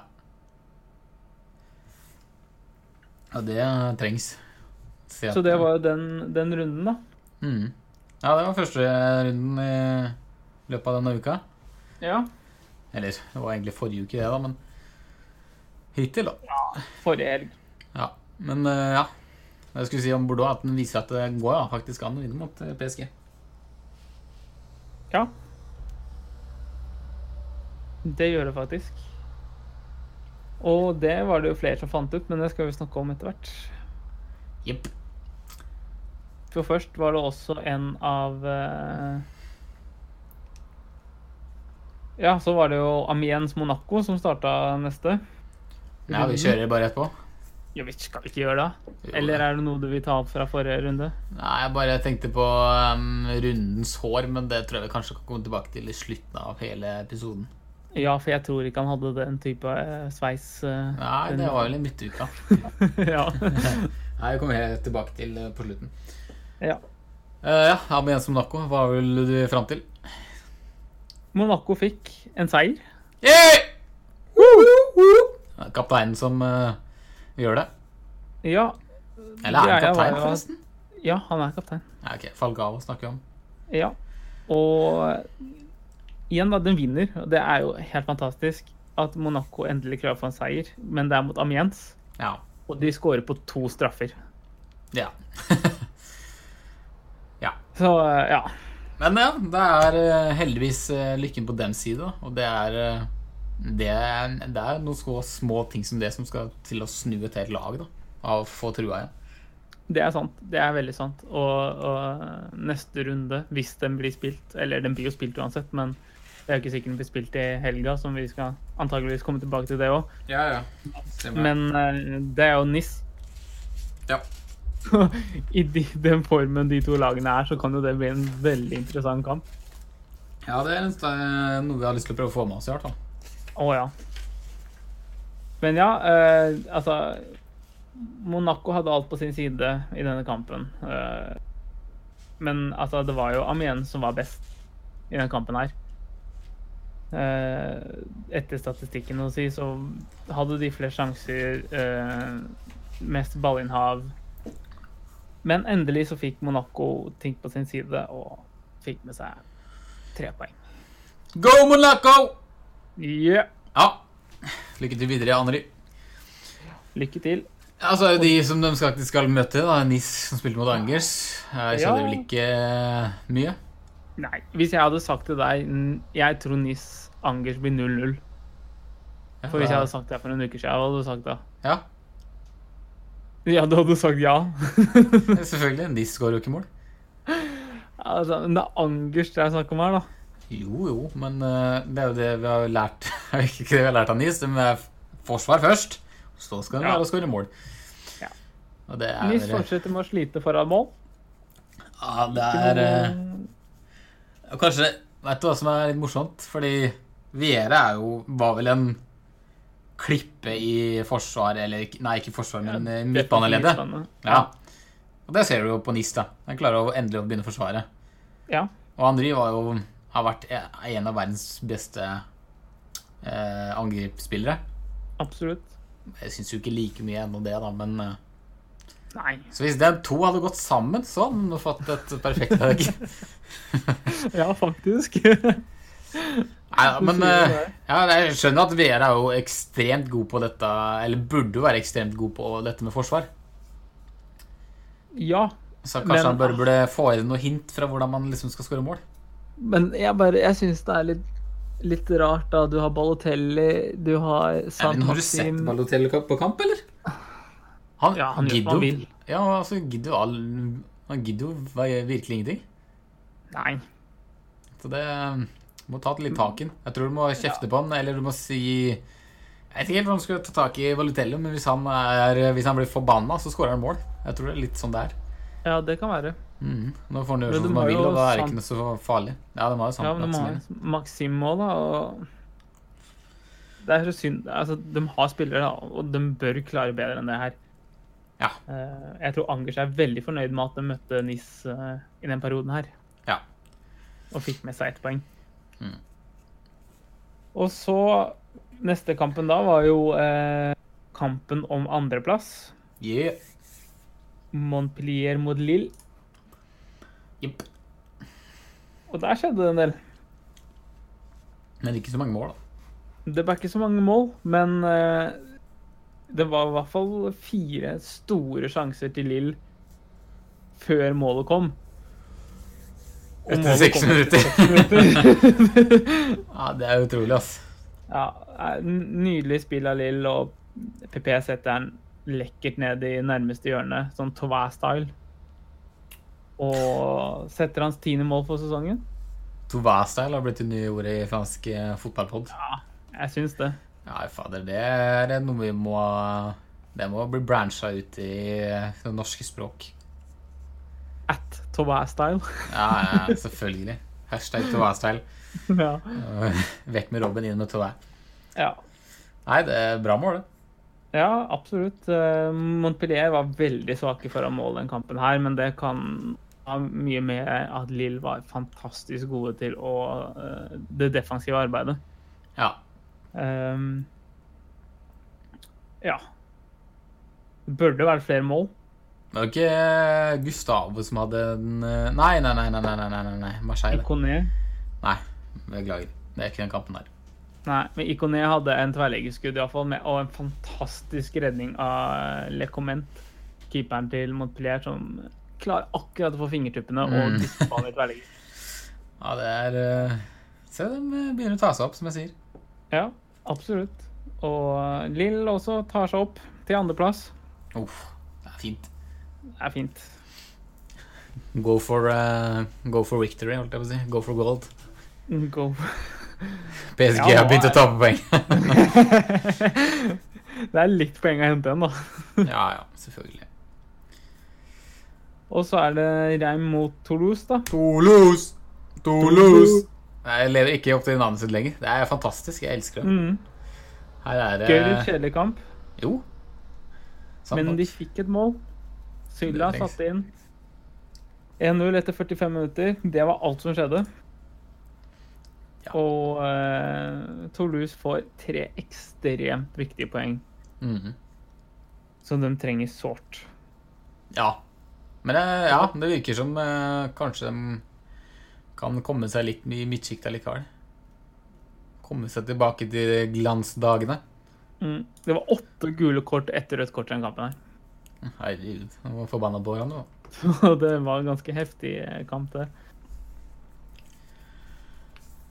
ja, det eh, trengs. Se at-
Så det var jo den, den runden, da.
mm. Ja, det var første runden i løpet av denne uka.
Ja.
Eller, det var egentlig forrige uke, det, da, men hittil, da.
Forrige helg.
Ja, men eh, ja. Jeg skulle si om Bordeaux at den viser at det går ja, faktisk an å vinne mot eh, PSG.
Ja. Det gjør det faktisk. Og det var det jo flere som fant ut, men det skal vi snakke om etter hvert.
Jepp.
For først var det også en av eh, Ja, så var det jo Amiens Monaco som starta neste.
Ja, vi kjører bare rett på.
Ja, vi skal ikke gjøre det? Eller er det noe du vil ta opp fra forrige runde?
Nei, jeg bare tenkte på eh, rundens hår, men det tror jeg vi kanskje kan komme tilbake til i slutten av hele episoden.
Ja, for jeg tror ikke han hadde den type eh, sveis. eh,
Nei, det
den-
var vel i midtuka.
ja.
Nei, vi kommer helt tilbake til eh, på slutten.
ja.
Eh, ja, Amiens Monaco, hva vil du fram til?
Monaco fikk en seier.
Yeah! Det er Kapteinen som eh, gjør det.
Ja,
Eller er han
Greia var
kaptein,
jo at-
forresten?
ja han er kaptein.
Ja, ok, Falgao snakker vi om.
Ja. Og eh, igjen, da, den vinner. og Det er jo helt fantastisk at Monaco endelig klarer å få en seier, men det er mot Amiens.
Ja.
Og de skårer på to straffer.
Ja.
Så eh, ja.
Men ja, det er eh, heldigvis eh, lykken på dems side, da. og det er eh, det er, det er noen små, små ting som det som skal til å snu et helt lag da, av å få trua igjen.
Det er sant. Det er veldig sant. Og, og neste runde, hvis den blir spilt Eller den blir jo spilt uansett, men det er jo ikke sikkert den blir spilt i helga, som vi skal antageligvis komme tilbake til det òg.
Ja, ja.
Men eh, det er jo NIS.
Ja.
I de, den formen de to lagene er, så kan jo det bli en veldig interessant kamp.
det er en sl- eh, noe vi har lyst til å prøve å få med oss i hvert fall.
Å ja. Men ja, eh, altså Monaco hadde alt på sin side i denne kampen. Eh, men altså, det var jo Amiens som var best i denne kampen her. eh, etter statistikken å si, så hadde de flere sjanser, eh, mest ballinnhav. Men endelig så fikk Monaco ting på sin side og fikk med seg tre poeng.
Go Monaco!
Ja,
Ja. Lykke til videre, Anneli.
lykke til.
Altså, de som de skal, de skal møte, da, NIS som spilte mot Angers, eh, skjedde
Ja.
vel ikke eh, mye?
Nei, hvis jeg hadde sagt til deg n- Jeg tror Nis Angers blir 0-0. For hvis jeg hadde sagt det for en uke siden, hva hadde du sagt da?
Ja,
Ja, da hadde du sagt ja.
selvfølgelig. NIS går jo ikke i mål.
altså, men det er Angers det er snakk om her, da.
Jo, jo, men eh, det er jo det vi har lært Er det ikke det vi har lært av NIS? Det er forsvar først, så skal de
Ja.
lære å skåre mål.
Ja.
Og det er, eh,
Nis fortsetter med å slite foran mål.
ja, det er eh, Kanskje Vet du hva som er litt morsomt? Fordi Viera er jo Var vel en klippe i forsvar, eller ikke- Nei, ikke forsvar, men eh, midtbaneleddet.
Midtbane.
Ja. Og det ser du jo på NIS, da. Han klarer å endelig å begynne å forsvare.
Ja.
Og Henry var jo, har vært eh, en av verdens beste eh, angrepsspillere.
Absolutt.
Jeg syns jo ikke like mye ennå det, da, men eh,
Nei.
Så hvis de to hadde gått sammen, så hadde de fått et perfekt lag.
Ja, faktisk. ja,
Nei, da, men
Du sier det
eh,
der.
ja, jeg skjønner at VR er jo ekstremt god på dette, eller burde være ekstremt god på dette med forsvar. Så kanskje
Men-
han bare burde få inn noe hint fra hvordan man liksom skal skåre mål.
men jeg bare Jeg syns det er litt, litt rart, da. Du har Balotelli, du har
Ja, men har du sett
Santasim
Balotelli på kamp, eller? Han,
Ja, han gjør
gidder
hva han
jo-
vil.
Ja, altså, gidder jo all, han gidder jo ve- virkelig ingenting.
Nei.
Så det eh, må ta litt tak i den. Jeg tror du må kjefte på han, eller du må si Jeg vet ikke helt hvordan du skal ta tak i Valutello, men hvis han, er, hvis han blir forbanna, så skårer han mål. Jeg tror det er litt sånn det er.
Ja, det kan være.
Mhm. Nå får han gjøre
Men
sånn
de
som han
har
vil,
jo
og da er det
sant-
ikke noe så farlig. Ja, de har jo
Ja, men de har
sammenlagt.
Maxim òg, da. Og det er så synd Altså, de har spillere, da, og de bør klare bedre enn det her.
Ja.
Eh, Jeg tror Angers er veldig fornøyd med at de møtte NIS eh, i den perioden her.
Ja.
Og fikk med seg ett poeng.
Mm.
Og så Neste kampen da var jo eh, kampen om andreplass.
Yeah.
Montpellier mot Lille.
Jepp.
Og der skjedde det en del.
Men ikke så mange mål, da.
Det var ikke så mange mål, men eh, det var i hvert fall fire store sjanser til Lill før målet kom. Og
Etter
målet
seks
kom
minutter.
minutter.
Ja, Det er utrolig, ass.
ja, eh, nydelig spill av Lill, og PP setter den lekkert ned i nærmeste hjørne, sånn Tovæ-style. Og setter hans tiende mål for sesongen.
Touvin-style har blitt det nye ordet i fransk eh, fotballpod.
Jeg syns det.
Nei, fader, det er noe vi må Det må bli brancha ut i eh, det norske språk.
At Tovæ-style.
Ja, ja, ja, selvfølgelig. Hashtag Tovæ-style.
ja.
Vekk med Robin, inn med Tovæ.
ja.
Nei, det er bra mål, det.
Ja, absolutt. Eh, Montpellier var veldig svake foran mål den kampen her, men det kan ha mye med at Lill var fantastisk gode til å, eh, det defensive arbeidet.
Ja.
Ehm, ja. Det burde vært flere mål.
Det var ikke eh, Gustavo som hadde den eh, Nei, nei, nei, nei, nei, nei, nei, nei, nei. Marseille.
Ikoné
Nei, beklager. Det er ikke den kampen der.
Nei, men Ikoné hadde en tverrleggerskudd iallfall, og en fantastisk redning av eh, Le Comment, keeperen til Montpellier, som klarer akkurat å få fingertuppene
Mm.
og dytte ballen i tverrlegger.
Ja, det er eh, Se, de eh, begynner å ta seg opp, som jeg sier.
Ja, absolutt. Og eh, Lill også tar seg opp til andreplass.
Uff, det er fint.
Det er fint.
Go for, eh, go for victory, holdt jeg på å si. Go for gold.
Go.
PSG
Ja, nå
har begynt
er-
å tape poeng.
det er litt poeng å hente igjen, da.
ja, ja, selvfølgelig.
Og så er det Reim mot Toulouse, da.
Toulouse!
Toulouse!
Nei, jeg lever ikke opp til navnet sitt lenger. Det er fantastisk. Jeg elsker det.
Mm.
Her er
Gøy, litt
det
kjedelig kamp,
Jo. Sant
men
nok.
de fikk et mål. Sylla
Det trengs.
satte inn 1-0 etter 45 minutter. Det var alt som skjedde.
Ja.
Og eh, Toulouse får tre ekstremt viktige poeng
Mhm.
som de trenger sårt.
Ja. Men eh, ja, det virker som eh, kanskje de kan komme seg litt i midtsjiktet likevel. Komme seg tilbake til glansdagene.
Mm. Det var åtte gule kort etter rødt kort i den kampen her.
Herregud, jeg var forbanna på hverandre. da.
Så det var en ganske heftig eh, kamp, det.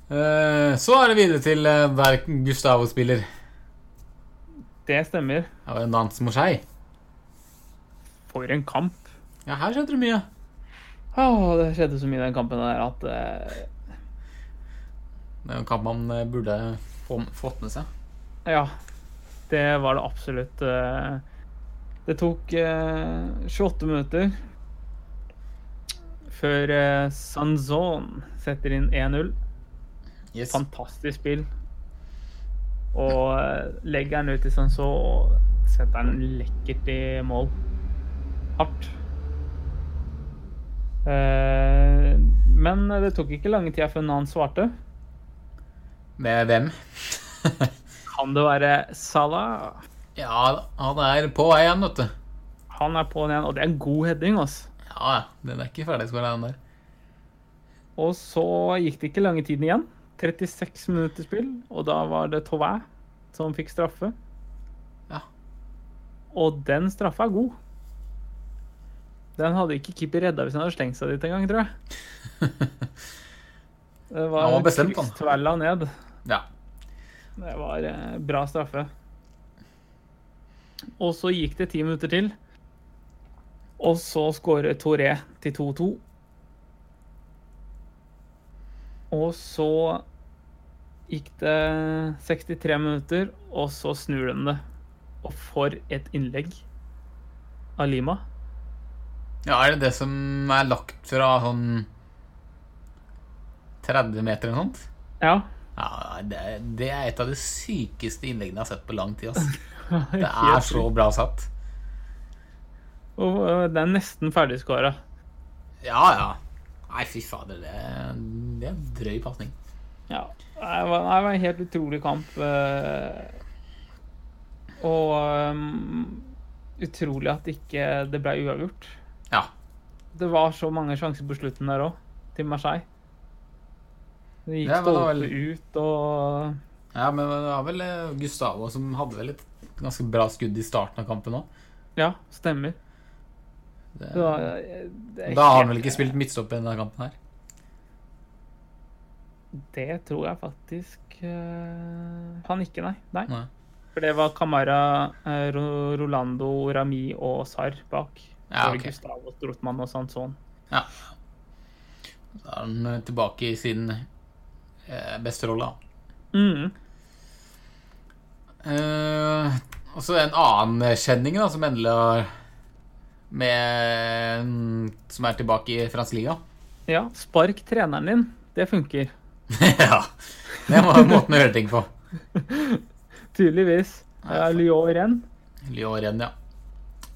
Eh, Så er det videre til eh, hver Gustavo-spiller.
Det stemmer.
Det var en dans mot seg.
For en kamp.
Ja, her skjedde det mye.
Åh, det skjedde så mye i den kampen der at eh,
Det er jo en kamp man eh, burde få, fått med seg.
Ja. Det var det absolutt. eh. Det tok eh, 28 minutter før eh, Sanzon setter inn 1-0.
Yes.
Fantastisk spill. Og eh, legger den ut til Sanzon og setter den lekkert i mål. Hardt. Eh, Men det tok ikke lange tida før han svarte.
Med hvem?
Kan det være Salah?
ja, han er på vei igjen, vet du.
Han er på'n igjen, og det er en god heading. ass.
Ja, ja. Den er ikke ferdigskåra, den der.
Og så gikk det ikke lange tiden igjen. 36 minutter spill, og da var det Tauvin som fikk straffe.
Ja.
Og den straffa er god. Den hadde ikke keeper redda hvis han hadde slengt seg dit engang, tror jeg. Det var,
Han var bestemt, han.
krysstvella ned.
Ja.
Det var eh, bra straffe. Og så gikk det ti minutter til. Og så skårer Toré til 2-2. Og så gikk det 63 minutter, og så snur de det. Og for et innlegg av Lima.
Ja, er det det som er lagt fra sånn 30 meter eller noe sånt?
Ja.
Ja, det, det er et av de sykeste innleggene jeg har sett på lang tid. Ass. Det er så bra satt.
Og eh, det er nesten ferdigskåra.
Ja, ja. Nei, fy fader, det, det er en drøy pasning.
Ja. Det var, det var en helt utrolig kamp. eh, Og ehm, utrolig at ikke det ble uavgjort.
Ja.
Det var så mange sjanser på slutten der òg, til Marseille. Det gikk
Ja, men det var
stolpe ut og
ja, men det var vel eh, Gustavo som hadde vel et ganske bra skudd i starten av kampen òg.
Ja, stemmer. Det
Da
var, eh, det er
har han
helt-
vel ikke spilt midtstopper i denne kampen her.
Det tror jeg faktisk eh, Han ikke, nei. nei.
Nei.
For det var Camara, eh, Ro- Rolando, Rami og Sarr bak.
Ja,
For
ok.
Gustavo, Strotmann og Sanson.
Ja. Da er han eh, tilbake i sin eh, beste rolle, da.
Mm.
Eh, og så en annen kjenning da, som endelig har med, mm, Som er tilbake i fransk liga.
Ja, spark treneren din. Det funker.
ja. Det var måten å gjøre ting på.
Tydeligvis. Det
Ja,
er Lyon renn.
Lyon igjen, ja.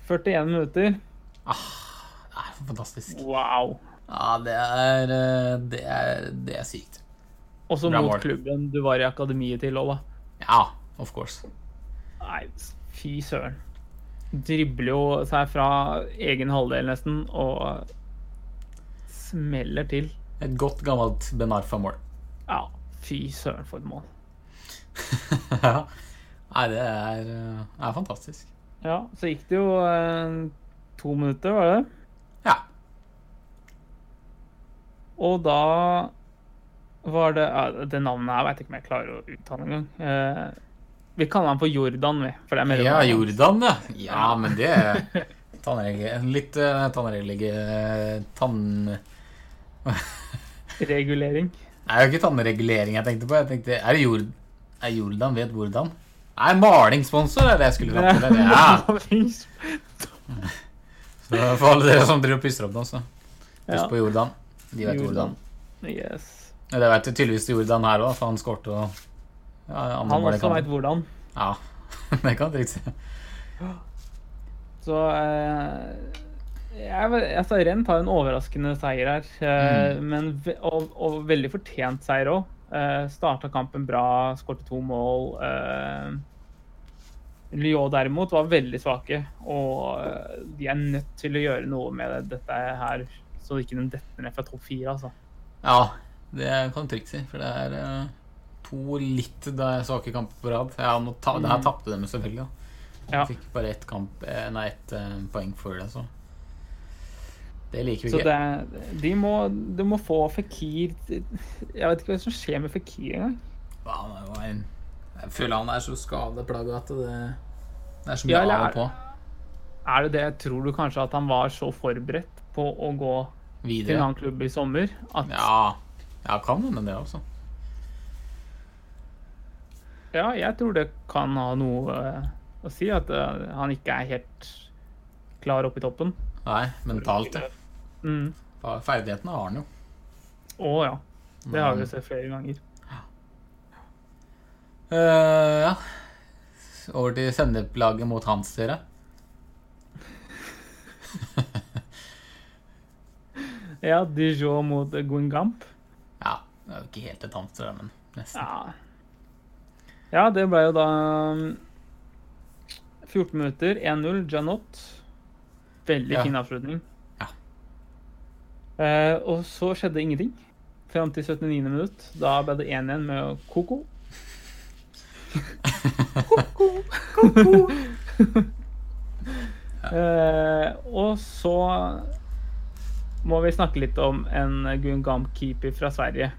41 minutter.
Det er fantastisk.
Wow.
Ja, det er, eh, det er, det er sykt.
Også
Bra
mot
mål.
klubben du var i akademiet til òg, da.
Ja, of course.
Nei, fy søren. Dribler jo seg fra egen halvdel nesten og smeller til.
Et godt, gammelt Benarfa-mål.
Ja, fy søren for et mål.
Ja. Nei, det er, eh, det er fantastisk.
Ja, så gikk det jo eh, to minutter, var det det?
Ja.
Og da var det ja, Det navnet her veit ikke om jeg klarer å uttale engang. Eh, vi kaller han for Jordan, vi. For det er mellom-
Ja, Jordan, ja. Ja, men det Tannlege... Litt eh, tannlege... Tann...
Regulering.
Det er jo ikke tannregulering jeg tenkte på. Jeg tenkte, Er det jord... Er Jordan vet hvordan? Nei, malingssponsor er det jeg skulle fram til. Ja. Så for alle dere som driver og pusser opp nå, så
Ja,
husk på Jordan. De vet Jordan.
Jordan. Yes.
Ja, Det vet jo tydeligvis Jordan her òg, for han skårte og ja, andre
Han
mål i
også veit
kampen.
hvordan.
Ja, det kan trikse.
Så eh, jeg, vet- altså, Mm. Rent har en overraskende seier her, eh, men, ve- og, og veldig fortjent seier òg. Uh, starta kampen bra, skårte to mål. Eh, Lyon derimot var veldig svake, og eh, de er nødt til å gjøre noe med det, dette her, så ikke de detter ned fra topp fire, altså.
Ja, det kan du trygt si, for det er eh, to litt da svake kamper på rad. Ja, nå ta, Det her tapte de selvfølgelig, da.
Mm. Ja.
Fikk bare ett kamp, eh, nei, ett eh, poeng for det, så Det liker vi
Så
ikke.
det, de, må, de må få Fikir Jeg vet ikke hva som skjer med Fikir engang.
Ja, han er jo en Jeg føler han er så skadeplaga at det Det er så
Ja,
mye
eller
av og
er-
på.
Er det det? Tror du kanskje at han var så forberedt på å gå til en
Videre.
annen klubb i sommer at
Ja, ja kan hende det, altså.
Ja, jeg tror det kan ha noe eh, å si at eh, han ikke er helt klar oppe i toppen.
Nei, mentalt, ja.
Mm.
Fa- Ferdighetene har han jo.
Å ja. Det har vi jo sett flere ganger.
Eh, ja. Over til sendeplaget mot Hans, dere.
Ja, Dijon mot Guingamp.
Ja, det er jo ikke helt et Hans, det, men nesten.
Ja. ja, det ble jo da mm, 14 minutter, 1-0, Janot. Veldig
Ja.
fin avslutning.
Ja.
Eh, og så skjedde ingenting fram til 79. minutt. Da ble det 1-1 med Koko. Eh, og så må vi snakke litt om en Gungam-keeper fra Sverige.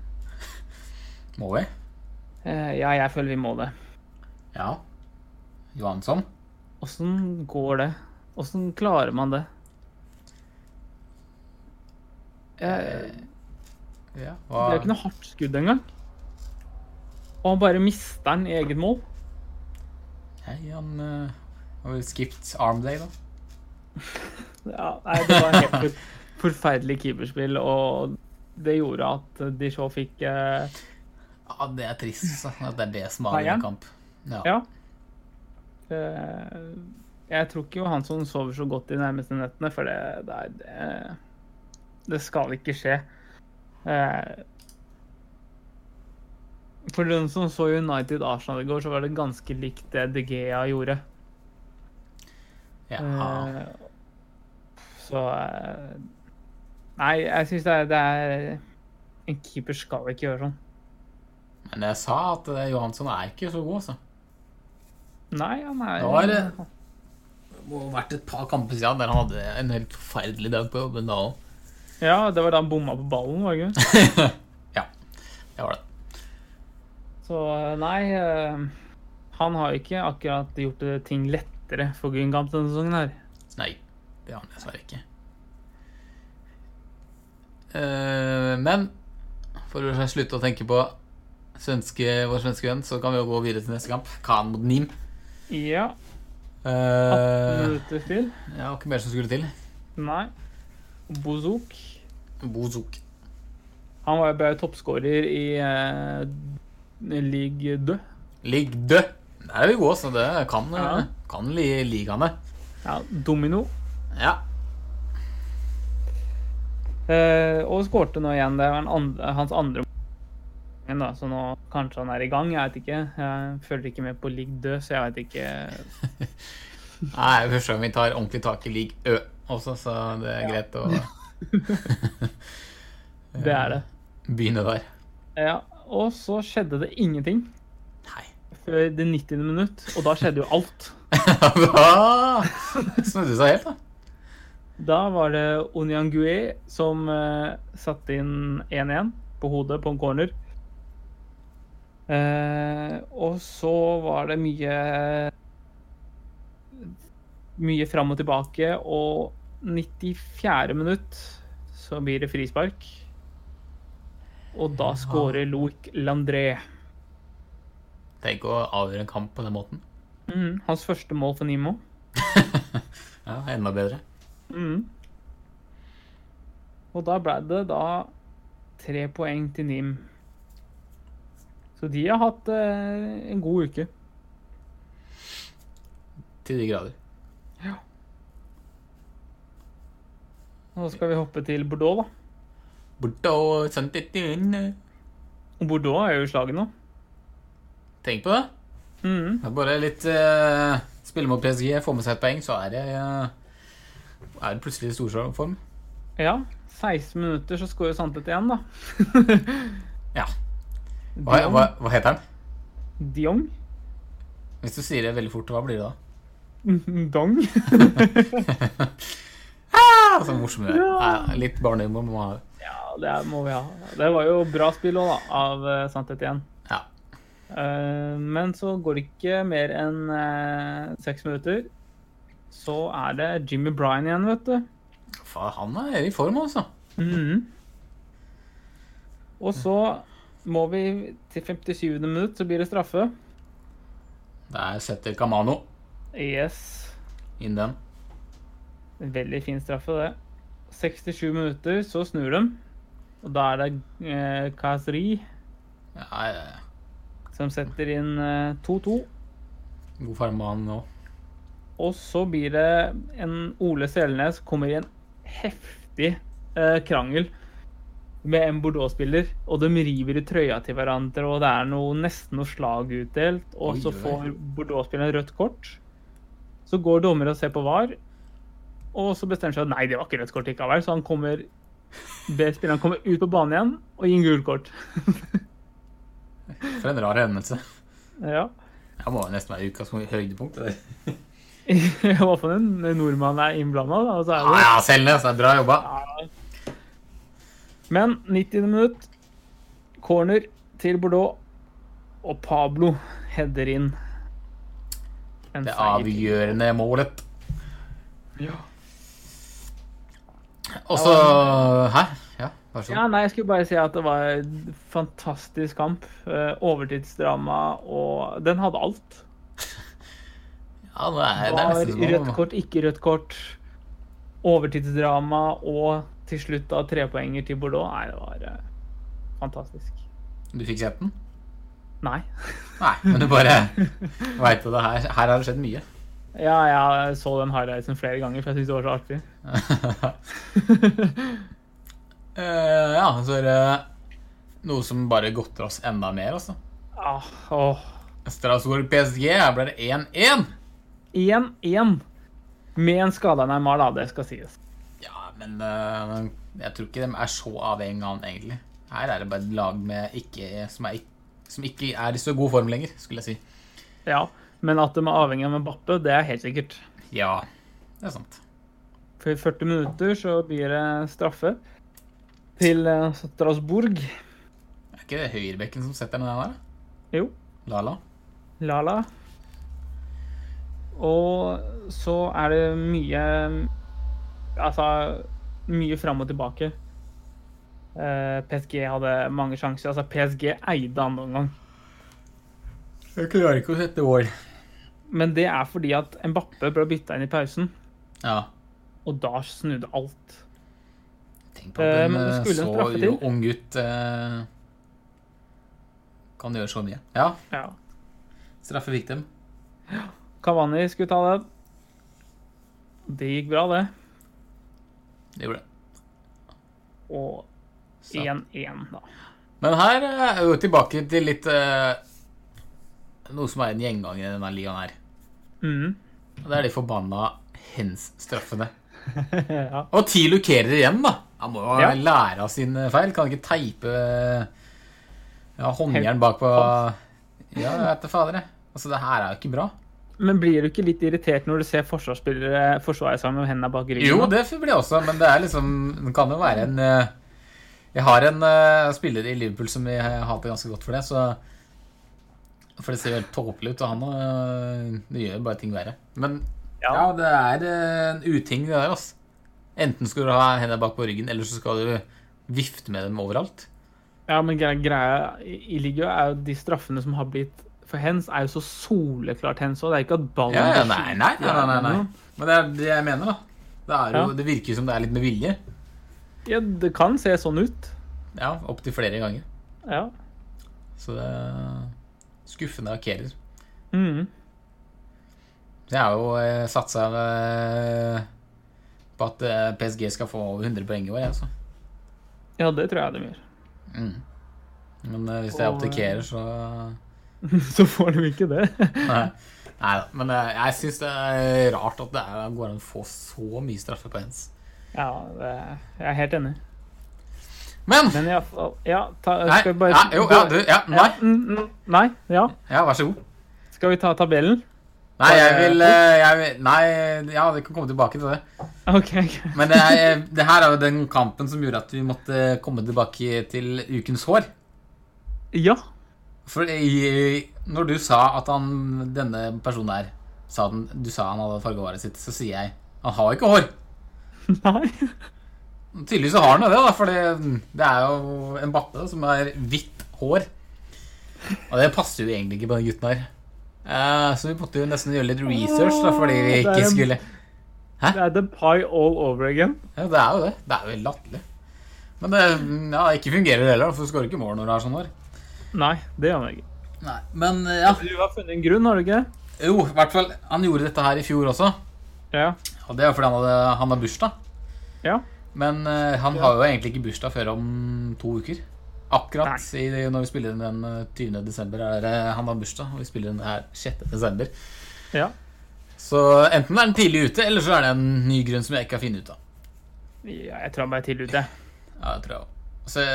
Må vi?
Eh, ja, jeg føler vi må det.
Ja. Johansson?
Åssen går det? Åssen klarer man det? Eh,
Ja.
det
Hva?
er jo ikke noe hardt skudd engang. Og han bare mister den i eget mål.
Nei, han eh, har vel skipped arm day, da.
Ja, nei, det var helt for, forferdelig keeperspill, og det gjorde at Dijon fikk eh,
Ja, det er trist, altså. At det er det som avgjør
Bayern?
en kamp. Ja.
Ja. Eh, Jeg tror ikke Johansson sover så godt de nærmeste nettene, for det, det, er, det, det skal ikke skje. Eh, For den som så United Arsenal i går, så var det ganske likt det De Gea gjorde.
Ja.
Eh, Så eh, Nei, jeg syns det, er- det er En keeper skal ikke gjøre sånn.
Men jeg sa at eh, Johansson er ikke så god, altså.
Nei, han er
Det var, eh, Det må ha vært et par kamper siden der han hadde en helt forferdelig dag på jobben da òg.
Ja, det var da han bomma på ballen, var det ikke?
Det var det.
Så nei, eh, han har ikke akkurat gjort eh, ting lettere for Grüngamp denne sesongen her.
Nei, det har han dessverre ikke. Eh, men for å slutte å tenke på svenske, vår svenske venn, så kan vi jo gå videre til neste kamp. Khan mot Nim.
Ja, 18
Uh,
minutter til.
ja, ikke mer som skulle til.
Nei. Bozok,
Bozok.
han var jo bare toppskårer i eh, Ligue 2.
Ligg død! Der er vi gode, så det kan,
Ja.
eh, kan li ligaene.
Ja, domino.
Ja.
Eh, og skårte nå igjen. Det var en andre, hans andre mål, da, så nå kanskje han er i gang. Jeg vet ikke. Jeg følger ikke med på Ligue 2, så jeg vet ikke.
Nei, første gang vi tar ordentlig tak i lig Ø også, så det er greit å
Det er det.
begynne der.
Ja, og så skjedde det ingenting
Nei.
før det 90. minutt, og da skjedde jo alt.
da snudde det seg helt, da.
Da var det Onyangue som eh, satte inn 1-1 på hodet på en corner. Eh, og så var det mye Mye fram og tilbake, og 94. minutt så blir det frispark. Og da skårer Loic Landré.
Tenk å avgjøre en kamp på den måten.
Mm, hans første mål for Nimo.
Ja, Enda bedre.
Mm. Og da ble det da tre poeng til NIM. Så de har hatt eh, en god uke.
Til de grader.
Nå skal vi hoppe til Bordeaux, da.
Borte og sendt litt inn.
Og Bordeaux er jo i slaget nå.
Tenk på det.
Mhm.
Det er bare litt eh, Spille mot PSG, få med seg et poeng, så er det, eh, er det plutselig i storform.
Ja. 16 minutter, så skårer Santet igjen, da.
Ja. Hva,
Diong.
hva, hva heter den?
Diong?
Hvis du sier det veldig fort, hva blir det da?
Dong?
Ja, Ah, så morsomt det er.
Ja.
Nei, Litt barnehumor må man ha.
Ja, det må vi ha. Det var jo bra spill òg, da, av eh, Santet igjen.
Ja.
Eh, Men så går det ikke mer enn eh, seks minutter. Så er det Jimmy Bryan igjen, vet du.
Faen, han er i form, altså.
Mhm. Og så må vi til 57. minutt, så blir det straffe.
Der setter Kamano
Yes.
inn den.
En Veldig fin straffe, det. 67 minutter, så snur de. Og da er det eh, Kazri
Ja, ja, ja.
som setter inn eh, 2-2.
god form på han nå.
Og så blir det en Ole Selnes kommer i en heftig eh, krangel med en Bordeaux-spiller, og de river i trøya til hverandre, og det er noe, nesten noe slag utdelt. Og
Oi,
så
oi.
får Bordeaux-spilleren rødt kort. Så går dommer og ser på VAR, og så bestemmer seg at nei, det var ikke rødt kort likevel, så han kommer ber spilleren komme ut på banen igjen og gi en gult kort.
For en rar hendelse.
ja.
Det må jo nesten være ukas høydepunkt. det der.
I hvert fall en nordmann er innblanda, da. Og så
Ja,
er det
Ah, ja, Selnes, det er bra jobba.
Men 90. minutt, corner til Bordeaux, og Pablo header inn. En
Det
seier til.
avgjørende målet.
Ja.
Og så Hæ? Ja, vær så
Ja,
god.
nei, jeg skulle bare si at det var en fantastisk kamp. Eh, Overtidsdrama og Den hadde alt.
Ja, det er, det er
Var
nesten
rødt
som å-
kort, ikke rødt kort. Overtidsdrama og til slutt da trepoenger til Bordeaux. Nei, det var eh, fantastisk.
Du fikk sett den?
Nei.
Nei, men du bare veit jo det her. Her har det skjedd mye.
Ja, jeg så den highlightsen flere ganger, for jeg syntes det var så artig.
Eh, ja, så er det noe som bare godter oss enda mer, altså.
Ah, åh.
Strasbourg PSG, her ble det 1-1.
1-1 med en skada Neymar, da. Det skal sies.
Ja, men eh, jeg tror ikke de er så avhengig av han, egentlig. Her er det bare et lag med ikke, som, er, ikk- som ikke er i så god form lenger, skulle jeg si.
Ja, Men at de er avhengig av Mbappe, det er helt sikkert.
Ja, det er sant.
For i 40 minutter så blir det straffe til eh, Strasbourg.
Er ikke det høyrebekken som setter den der? da?
Jo,
Lala?
Lala. Og så er det mye Altså mye fram og tilbake. Eh, PSG hadde mange sjanser. Altså, PSG eide andre omgang.
Jeg klarer ikke å sette mål.
Men det er fordi at Mbappe ble bytta inn i pausen,
Ja.
og da snudde alt.
Tenk på at
Eh,
en
men
eh,
det skulle en
så
straffe
jo
til.
ung gutt eh, kan gjøre så mye. Ja,
Ja.
straffe fikk dem.
Kavani skulle ta det. Det gikk bra, det.
Det gjorde det.
Og
Så.
1-1, da.
Men her eh, er vi jo tilbake til litt eh, Noe som er en gjenganger i denne ligaen her.
Mm.
Og det er de forbanna hens-straffene.
ja.
Og ti lukerer igjen, da. Han må jo
Ja.
lære av sin eh, feil. Kan han ikke teipe eh, ja, håndjern bakpå Ja, jeg vet da fader, jeg. Altså, det her er jo ikke bra.
Men blir du ikke litt irritert når du ser forsvarsspillere forsvare seg med hendene bak ryggen?
Jo,
da?
det blir jeg også, men det er liksom Det kan jo være en eh, Jeg har en eh, spiller i Liverpool som jeg hater ganske godt for det, så For det ser jo helt tåpelig ut, og han eh, Det gjør bare ting verre. Men ja,
Ja.
det er eh, en uting, det der, altså. Enten skal du ha hendene bak på ryggen, eller så skal du vifte med dem overalt.
Ja, men gre- greia i i ligaen er jo de straffene som har blitt for hens, er jo så soleklart hens òg. Det er ikke at ballen
Ja, ja,
blir
nei, nei, nei, nei, nei, nei. Men det er det jeg mener, da. Det, er jo,
Ja.
det virker jo som det er litt med vilje.
skyet. Ja, det kan se sånn ut.
Ja, opptil flere ganger.
Ja.
Så det er skuffende av Kerer.
Mm.
Jeg har jo eh, satsa eh, på at eh, PSG skal få over 100 poeng i år, jeg, altså.
ja, det tror jeg de gjør.
Mm. Men eh, hvis jeg
Og, eh,
abdikerer, så
Så får de ikke det.
Nei da. Men eh, jeg syns det er rart at det er, går an å få så mye straffer på hens.
Ja, det, jeg er helt enig.
Men
Men iallfall Ja, ta,
Nei,
skal vi bare
ja, jo, ja, du, ja, nei.
Ja, mm, mm, nei. Ja.
Ja, vær så god.
Skal vi ta tabellen?
Nei, jeg vil, eh, jeg vil Nei, ja, vi kan komme tilbake til det.
OK.
Men det, er, eh, det her er jo den kampen som gjorde at vi måtte eh, komme tilbake til ukens hår.
Ja.
For i, når du sa at han, denne personen her sa den, Du sa han hadde fargehåret sitt, så sier jeg han har ikke hår.
Nei.
Tydeligvis så har han jo det, da, for det, det er jo en bappe som har hvitt hår. Og det passer jo egentlig ikke på den gutten her. Eh, så vi måtte jo nesten gjøre litt research, da, fordi vi
Det er
ikke
en-
skulle
Det er the pie all over again.
Ja, det er jo det. Det er jo helt latterlig. Men det ja, ikke fungerer heller, for du skårer ikke mål når du har sånn hår.
Nei, det gjør han ikke.
Nei, men eh, ja.
Du har funnet en grunn, har du ikke?
Jo, i hvert fall. Han gjorde dette her i fjor også.
Ja.
Og det er fordi han, hadde, han har bursdag.
Ja.
Men eh, han
Ja.
har jo egentlig ikke bursdag før om to uker. Akkurat
Nei.
i, når vi spiller inn den eh, 20. desember, er det han har bursdag. Og vi spiller inn det her 6. desember.
Ja.
Så enten er den tidlig ute, eller så er det en ny grunn som jeg ikke har funnet ut av.
ja jeg tror han bare er tidlig ute.
Ja, det tror jeg også. Så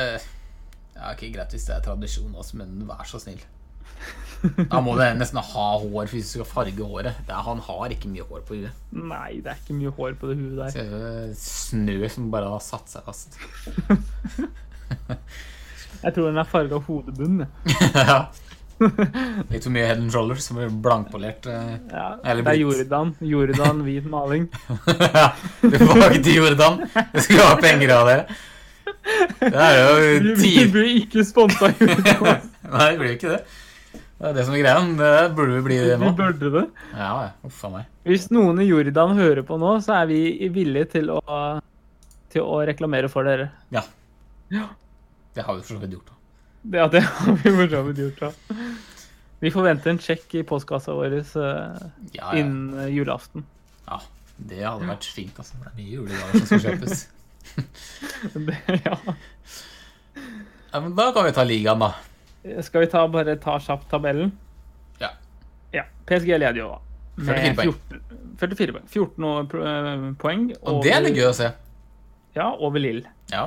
Ja, ikke greit hvis det er tradisjon, altså, men vær så snill. Da må du nesten ha hår hvis du skal farge håret. Det er, han har ikke mye hår på huet.
Nei, det er ikke mye hår på det huet der.
Ser ut som Snø som bare har satt seg fast.
Jeg tror den er farga hodebunnen. jeg.
Ja. Litt for mye head and shoulders som blir blankpolert. eh.
Ja,
Eller
det er
blitt.
Jordan. Jordan hvit maling.
Du får ikke til Jordan. Jeg skulle ha penger av dere. Det er
Vi
jo
vi
tid...
blir ikke sponsa av Jordan.
Nei, det blir jo ikke det. Det er det som er greia. men Det burde vi bli det
Vi
nå.
burde det.
Ja, ja. Uff a meg.
Hvis noen i Jordan hører på nå, så er vi villige til å, til å reklamere for dere.
Det har vi for så vidt gjort. da.
Det, ja, det har vi for så vidt gjort, da. Vi forventer en sjekk i postkassa vår eh,
Ja, ja.
innen eh, julaften.
Ja, det hadde vært fint, altså. for Det er mye julegaver som skal kjøpes.
Det, ja.
Ja, men da kan vi ta ligaen, da.
Skal vi ta, bare ta kjapt tabellen?
Ja.
Ja, PSG leder jo, da.
44 poeng.
14, 44 poeng. 14 og- pro- eh, poeng.
Og det er litt gøy å se.
Ja, over Lill.
Ja.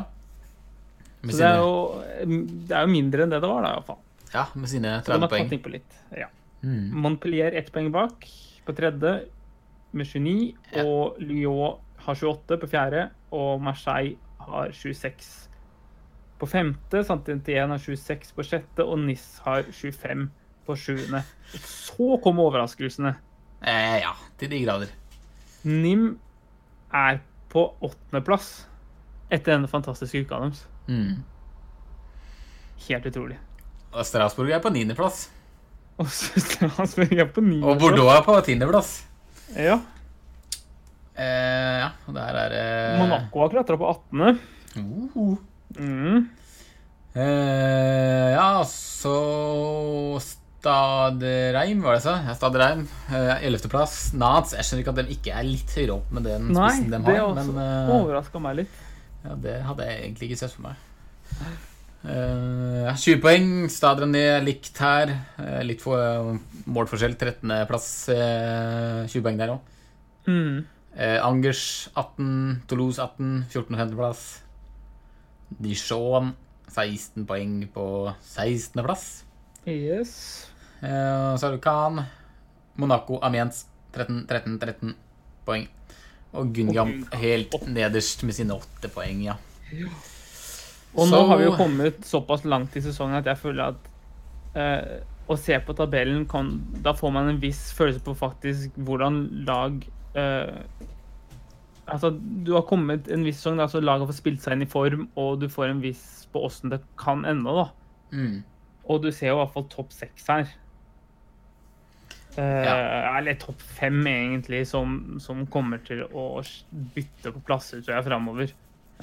Med
Så det er,
sine,
jo, eh, det er jo mindre enn det det var, da, iallfall.
ja, med sine
Så de
30
har tatt
poeng.
innpå litt. Ja.
Mm.
Montpellier ett poeng bak på tredje med 29.
Ja.
Og Lyon har 28 på fjerde, og Marseille har 26 på femte. Santintien har 26 på sjette, og Nis har 25 på sjuende. Så kom overraskelsene.
Eh, ja, til de grader.
Nim er på åttendeplass etter denne fantastiske uka deres.
Mm.
Helt utrolig.
Og Strasbourg er på niendeplass.
Og Strasbourg er på
Og
niendeplass.
Bordeaux er på tiendeplass.
Ja.
Eh, ja, og der er eh...
Monaco har klatra på 18.
Uhu.
Mm.
Uhuh. Eh, ja, så Staderheim, var det så? Ja, Staderheim. Ellevteplass. plass Nats. Jeg skjønner ikke at de ikke er litt høyere opp med den
Nei,
spissen de
det
har.
også
Men eh,
overraska meg litt.
ja, det hadde jeg egentlig ikke sett for meg. Eh, ja, 20 poeng. Stadren er likt her. Eh, litt for, målforskjell. 13.-plass. 20 poeng der òg.
Mm.
Eh, Angers 18, Toulouse 18, 14. og 15. plass. Dijon 16 poeng på 16. plass.
Yes.
Eh, så har du Khan, Monaco, Amiens 13, 13, 13 poeng. Og Gungamp
Gungamp.
helt nederst med sine åtte poeng, ja.
Og nå
Så-
har vi jo kommet såpass langt i sesongen at jeg føler at eh, å se på tabellen kan, Da får man en viss følelse på faktisk hvordan lag eh, Altså, du har kommet en viss sesong, da, så laget får spilt seg inn i form, og du får en viss på åssen det kan ende, da.
Mm.
Og du ser jo i hvert fall topp seks her. Eh, Eller topp fem, egentlig, som, som kommer til å s- bytte på plasser, tror jeg, framover.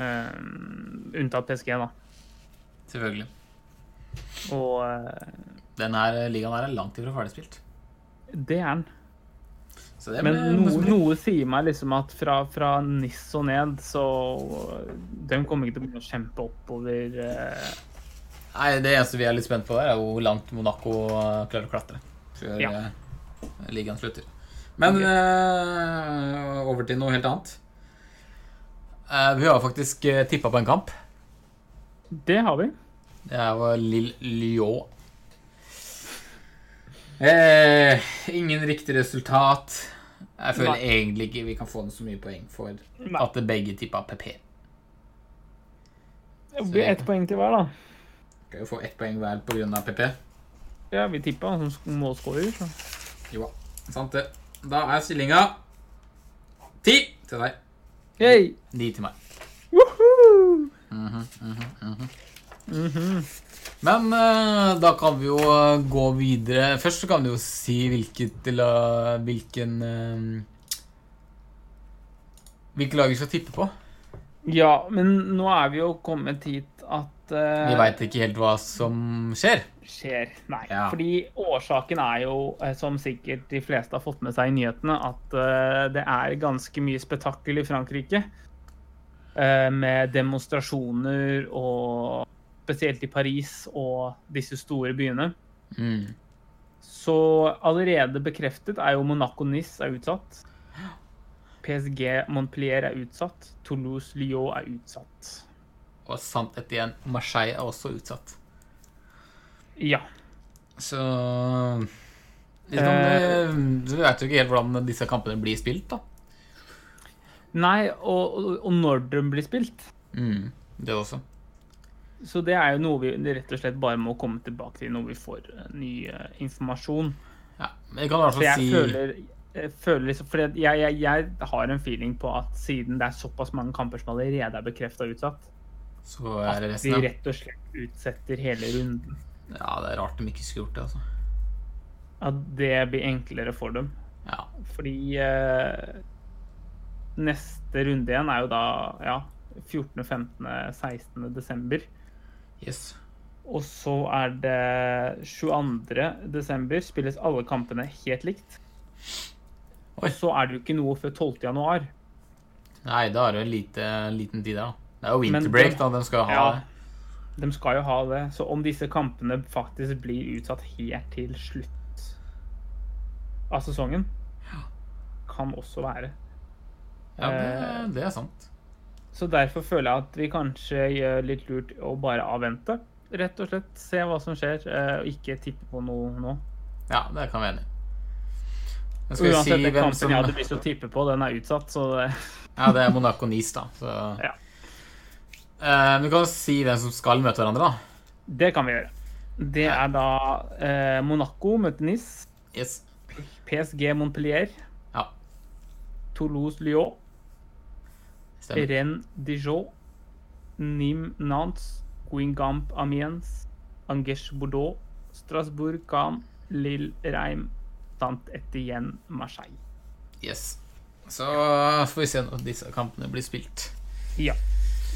Eh, unntatt PSG, da.
Selvfølgelig.
Og eh,
Den her ligaen her er langt ifra ferdigspilt.
det er den.
Så det
Men
blir
noe,
morsomt.
noe sier meg liksom at fra, fra NIS og ned, så De kommer ikke til å begynne å kjempe oppover eh,
Nei, Det eneste vi er litt spent på, der er hvor langt Monaco eh, klarer å klatre før
Ja.
eh, ligaen slutter. Men
Ok.
eh, over til noe helt annet. Eh, vi har faktisk uh, tippa på en kamp.
Det har vi.
Det her var Lill Lyon. Eh, ingen riktig resultat. Jeg føler
Nei.
egentlig ikke vi kan få den så mye poeng for
Nei.
at begge tippa PP.
Det blir ett poeng til hver, da.
Skal jo få ett poeng hver pga. PP.
Ja, vi tippa han som målskårer. så.
Jo da. Sant det. Da er stillinga ti til deg.
Yay!
Ni til meg.
Woohoo! Mhm,
Men eh, da kan vi jo eh, gå videre. Først så kan du jo si hvilket la- hvilken eh, Hvilke lag vi skal tippe på.
Ja, men nå er vi jo kommet hit at eh,
Vi veit ikke helt hva som skjer.
skjer. Nei.
Ja.
Fordi årsaken er jo, eh, som sikkert de fleste har fått med seg i nyhetene, at eh, det er ganske mye spetakkel i Frankrike. eh, Med demonstrasjoner og Spesielt i Paris og disse store byene.
Mm.
Så allerede bekreftet er jo Monaco Nice er utsatt. PSG Montpellier er utsatt. Toulouse Lyon er utsatt.
Og sant etter igjen, Marseille er også utsatt.
Ja.
Så eh, liksom, eh, Du veit jo ikke helt hvordan disse kampene blir spilt, da.
Nei, og, og, og når de blir spilt.
Mm. Det også.
Så det er jo noe vi rett og slett bare må komme tilbake til når vi får eh, ny eh, informasjon.
Ja. Men jeg kan i hvert
For
fall
jeg
si
føler, jeg føler liksom For jeg, jeg, jeg har en feeling på at siden det er såpass mange kamper som allerede er bekrefta utsatt,
Så er det
vi
resten av
rett og slett utsetter hele runden.
Ja, det er rart de ikke skulle gjort det, altså.
At det blir enklere for dem.
Ja.
Fordi eh, neste runde igjen er jo da ja, 14., 15., 16. desember.
Yes.
Og så er det 22. desember spilles alle kampene helt likt.
Oi.
Og så er det jo ikke noe før 12. januar.
Nei, da er det jo lite, liten tid der, da. Det er jo
Men
winterbreak,
det-
da. De skal ha
Ja. De skal jo ha det. Så om disse kampene faktisk blir utsatt helt til slutt av sesongen, kan også være.
Ja,
eh,
det, det er sant.
Så derfor føler jeg at vi kanskje gjør litt lurt å bare avvente. Rett og slett se hva som skjer, eh, og ikke tippe på noe nå.
Ja, det kan vi være enig i. Men skal vi
Uansett,
si
den
hvem
kampen
som
jeg hadde lyst til å tippe på, den er utsatt, så det
Ja, det er Monaco Nice, da. Så
Ja.
Eh, men Du kan si hvem som skal møte hverandre, da.
Det kan vi gjøre. Det er da eh, Monaco møter Nice,
Yes.
PSG Montpellier,
Ja,
Toulouse Lyon,
stemmer.
Rennes Dijon, Nîmes Nantes, Guingamp Amiens, Angers Bordeaux, Strasbourg Cannes, Lille Reim, samt Etienne Marseille.
Yes. Så får vi se når disse kampene blir spilt.
Ja.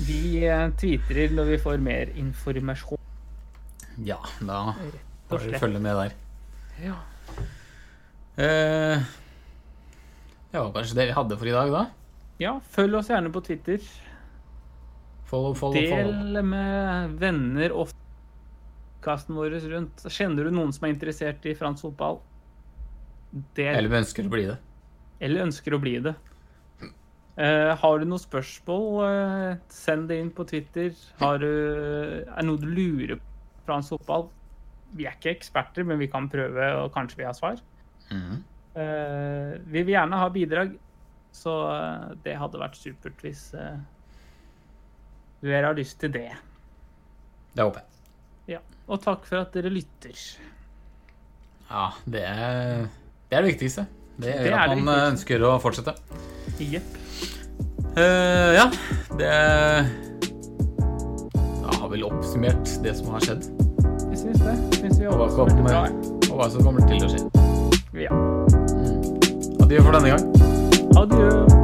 Vi eh, tweeter når vi får mer informasjon.
Ja, da
og
får vi
slett.
følge med der.
Ja.
Eh, det var kanskje det vi hadde for i dag, da.
følg oss gjerne på Twitter.
Follow, follow, follow.
Del med venner og kasten vår rundt. Kjenner du noen som er interessert i fransk fotball? Del,
Eller vi ønsker å bli det.
eller ønsker å bli det. Eh, har du noen spørsmål, eh, send det inn på Twitter. Har du, er det noe du lurer på i fransk fotball? Vi er ikke eksperter, men vi kan prøve, og kanskje vi har svar.
Mhm.
Eh, vi vil gjerne ha bidrag, så eh, det hadde vært supert hvis eh, dere har lyst til det.
Det håper jeg.
Ja. Og takk for at dere lytter.
Ja, det er det, er det viktigste. Det
Det
gjør
er
at
det
man eh, ønsker å fortsette.
Jepp.
Eh, ja, det Da har vel oppsummert det som har skjedd,
Jeg syns det. Syns vi
Og hva
oppsummerte
kommer-
bra.
og hva som kommer til å skje.
Ja.
Adjø for denne gang.
Adjø.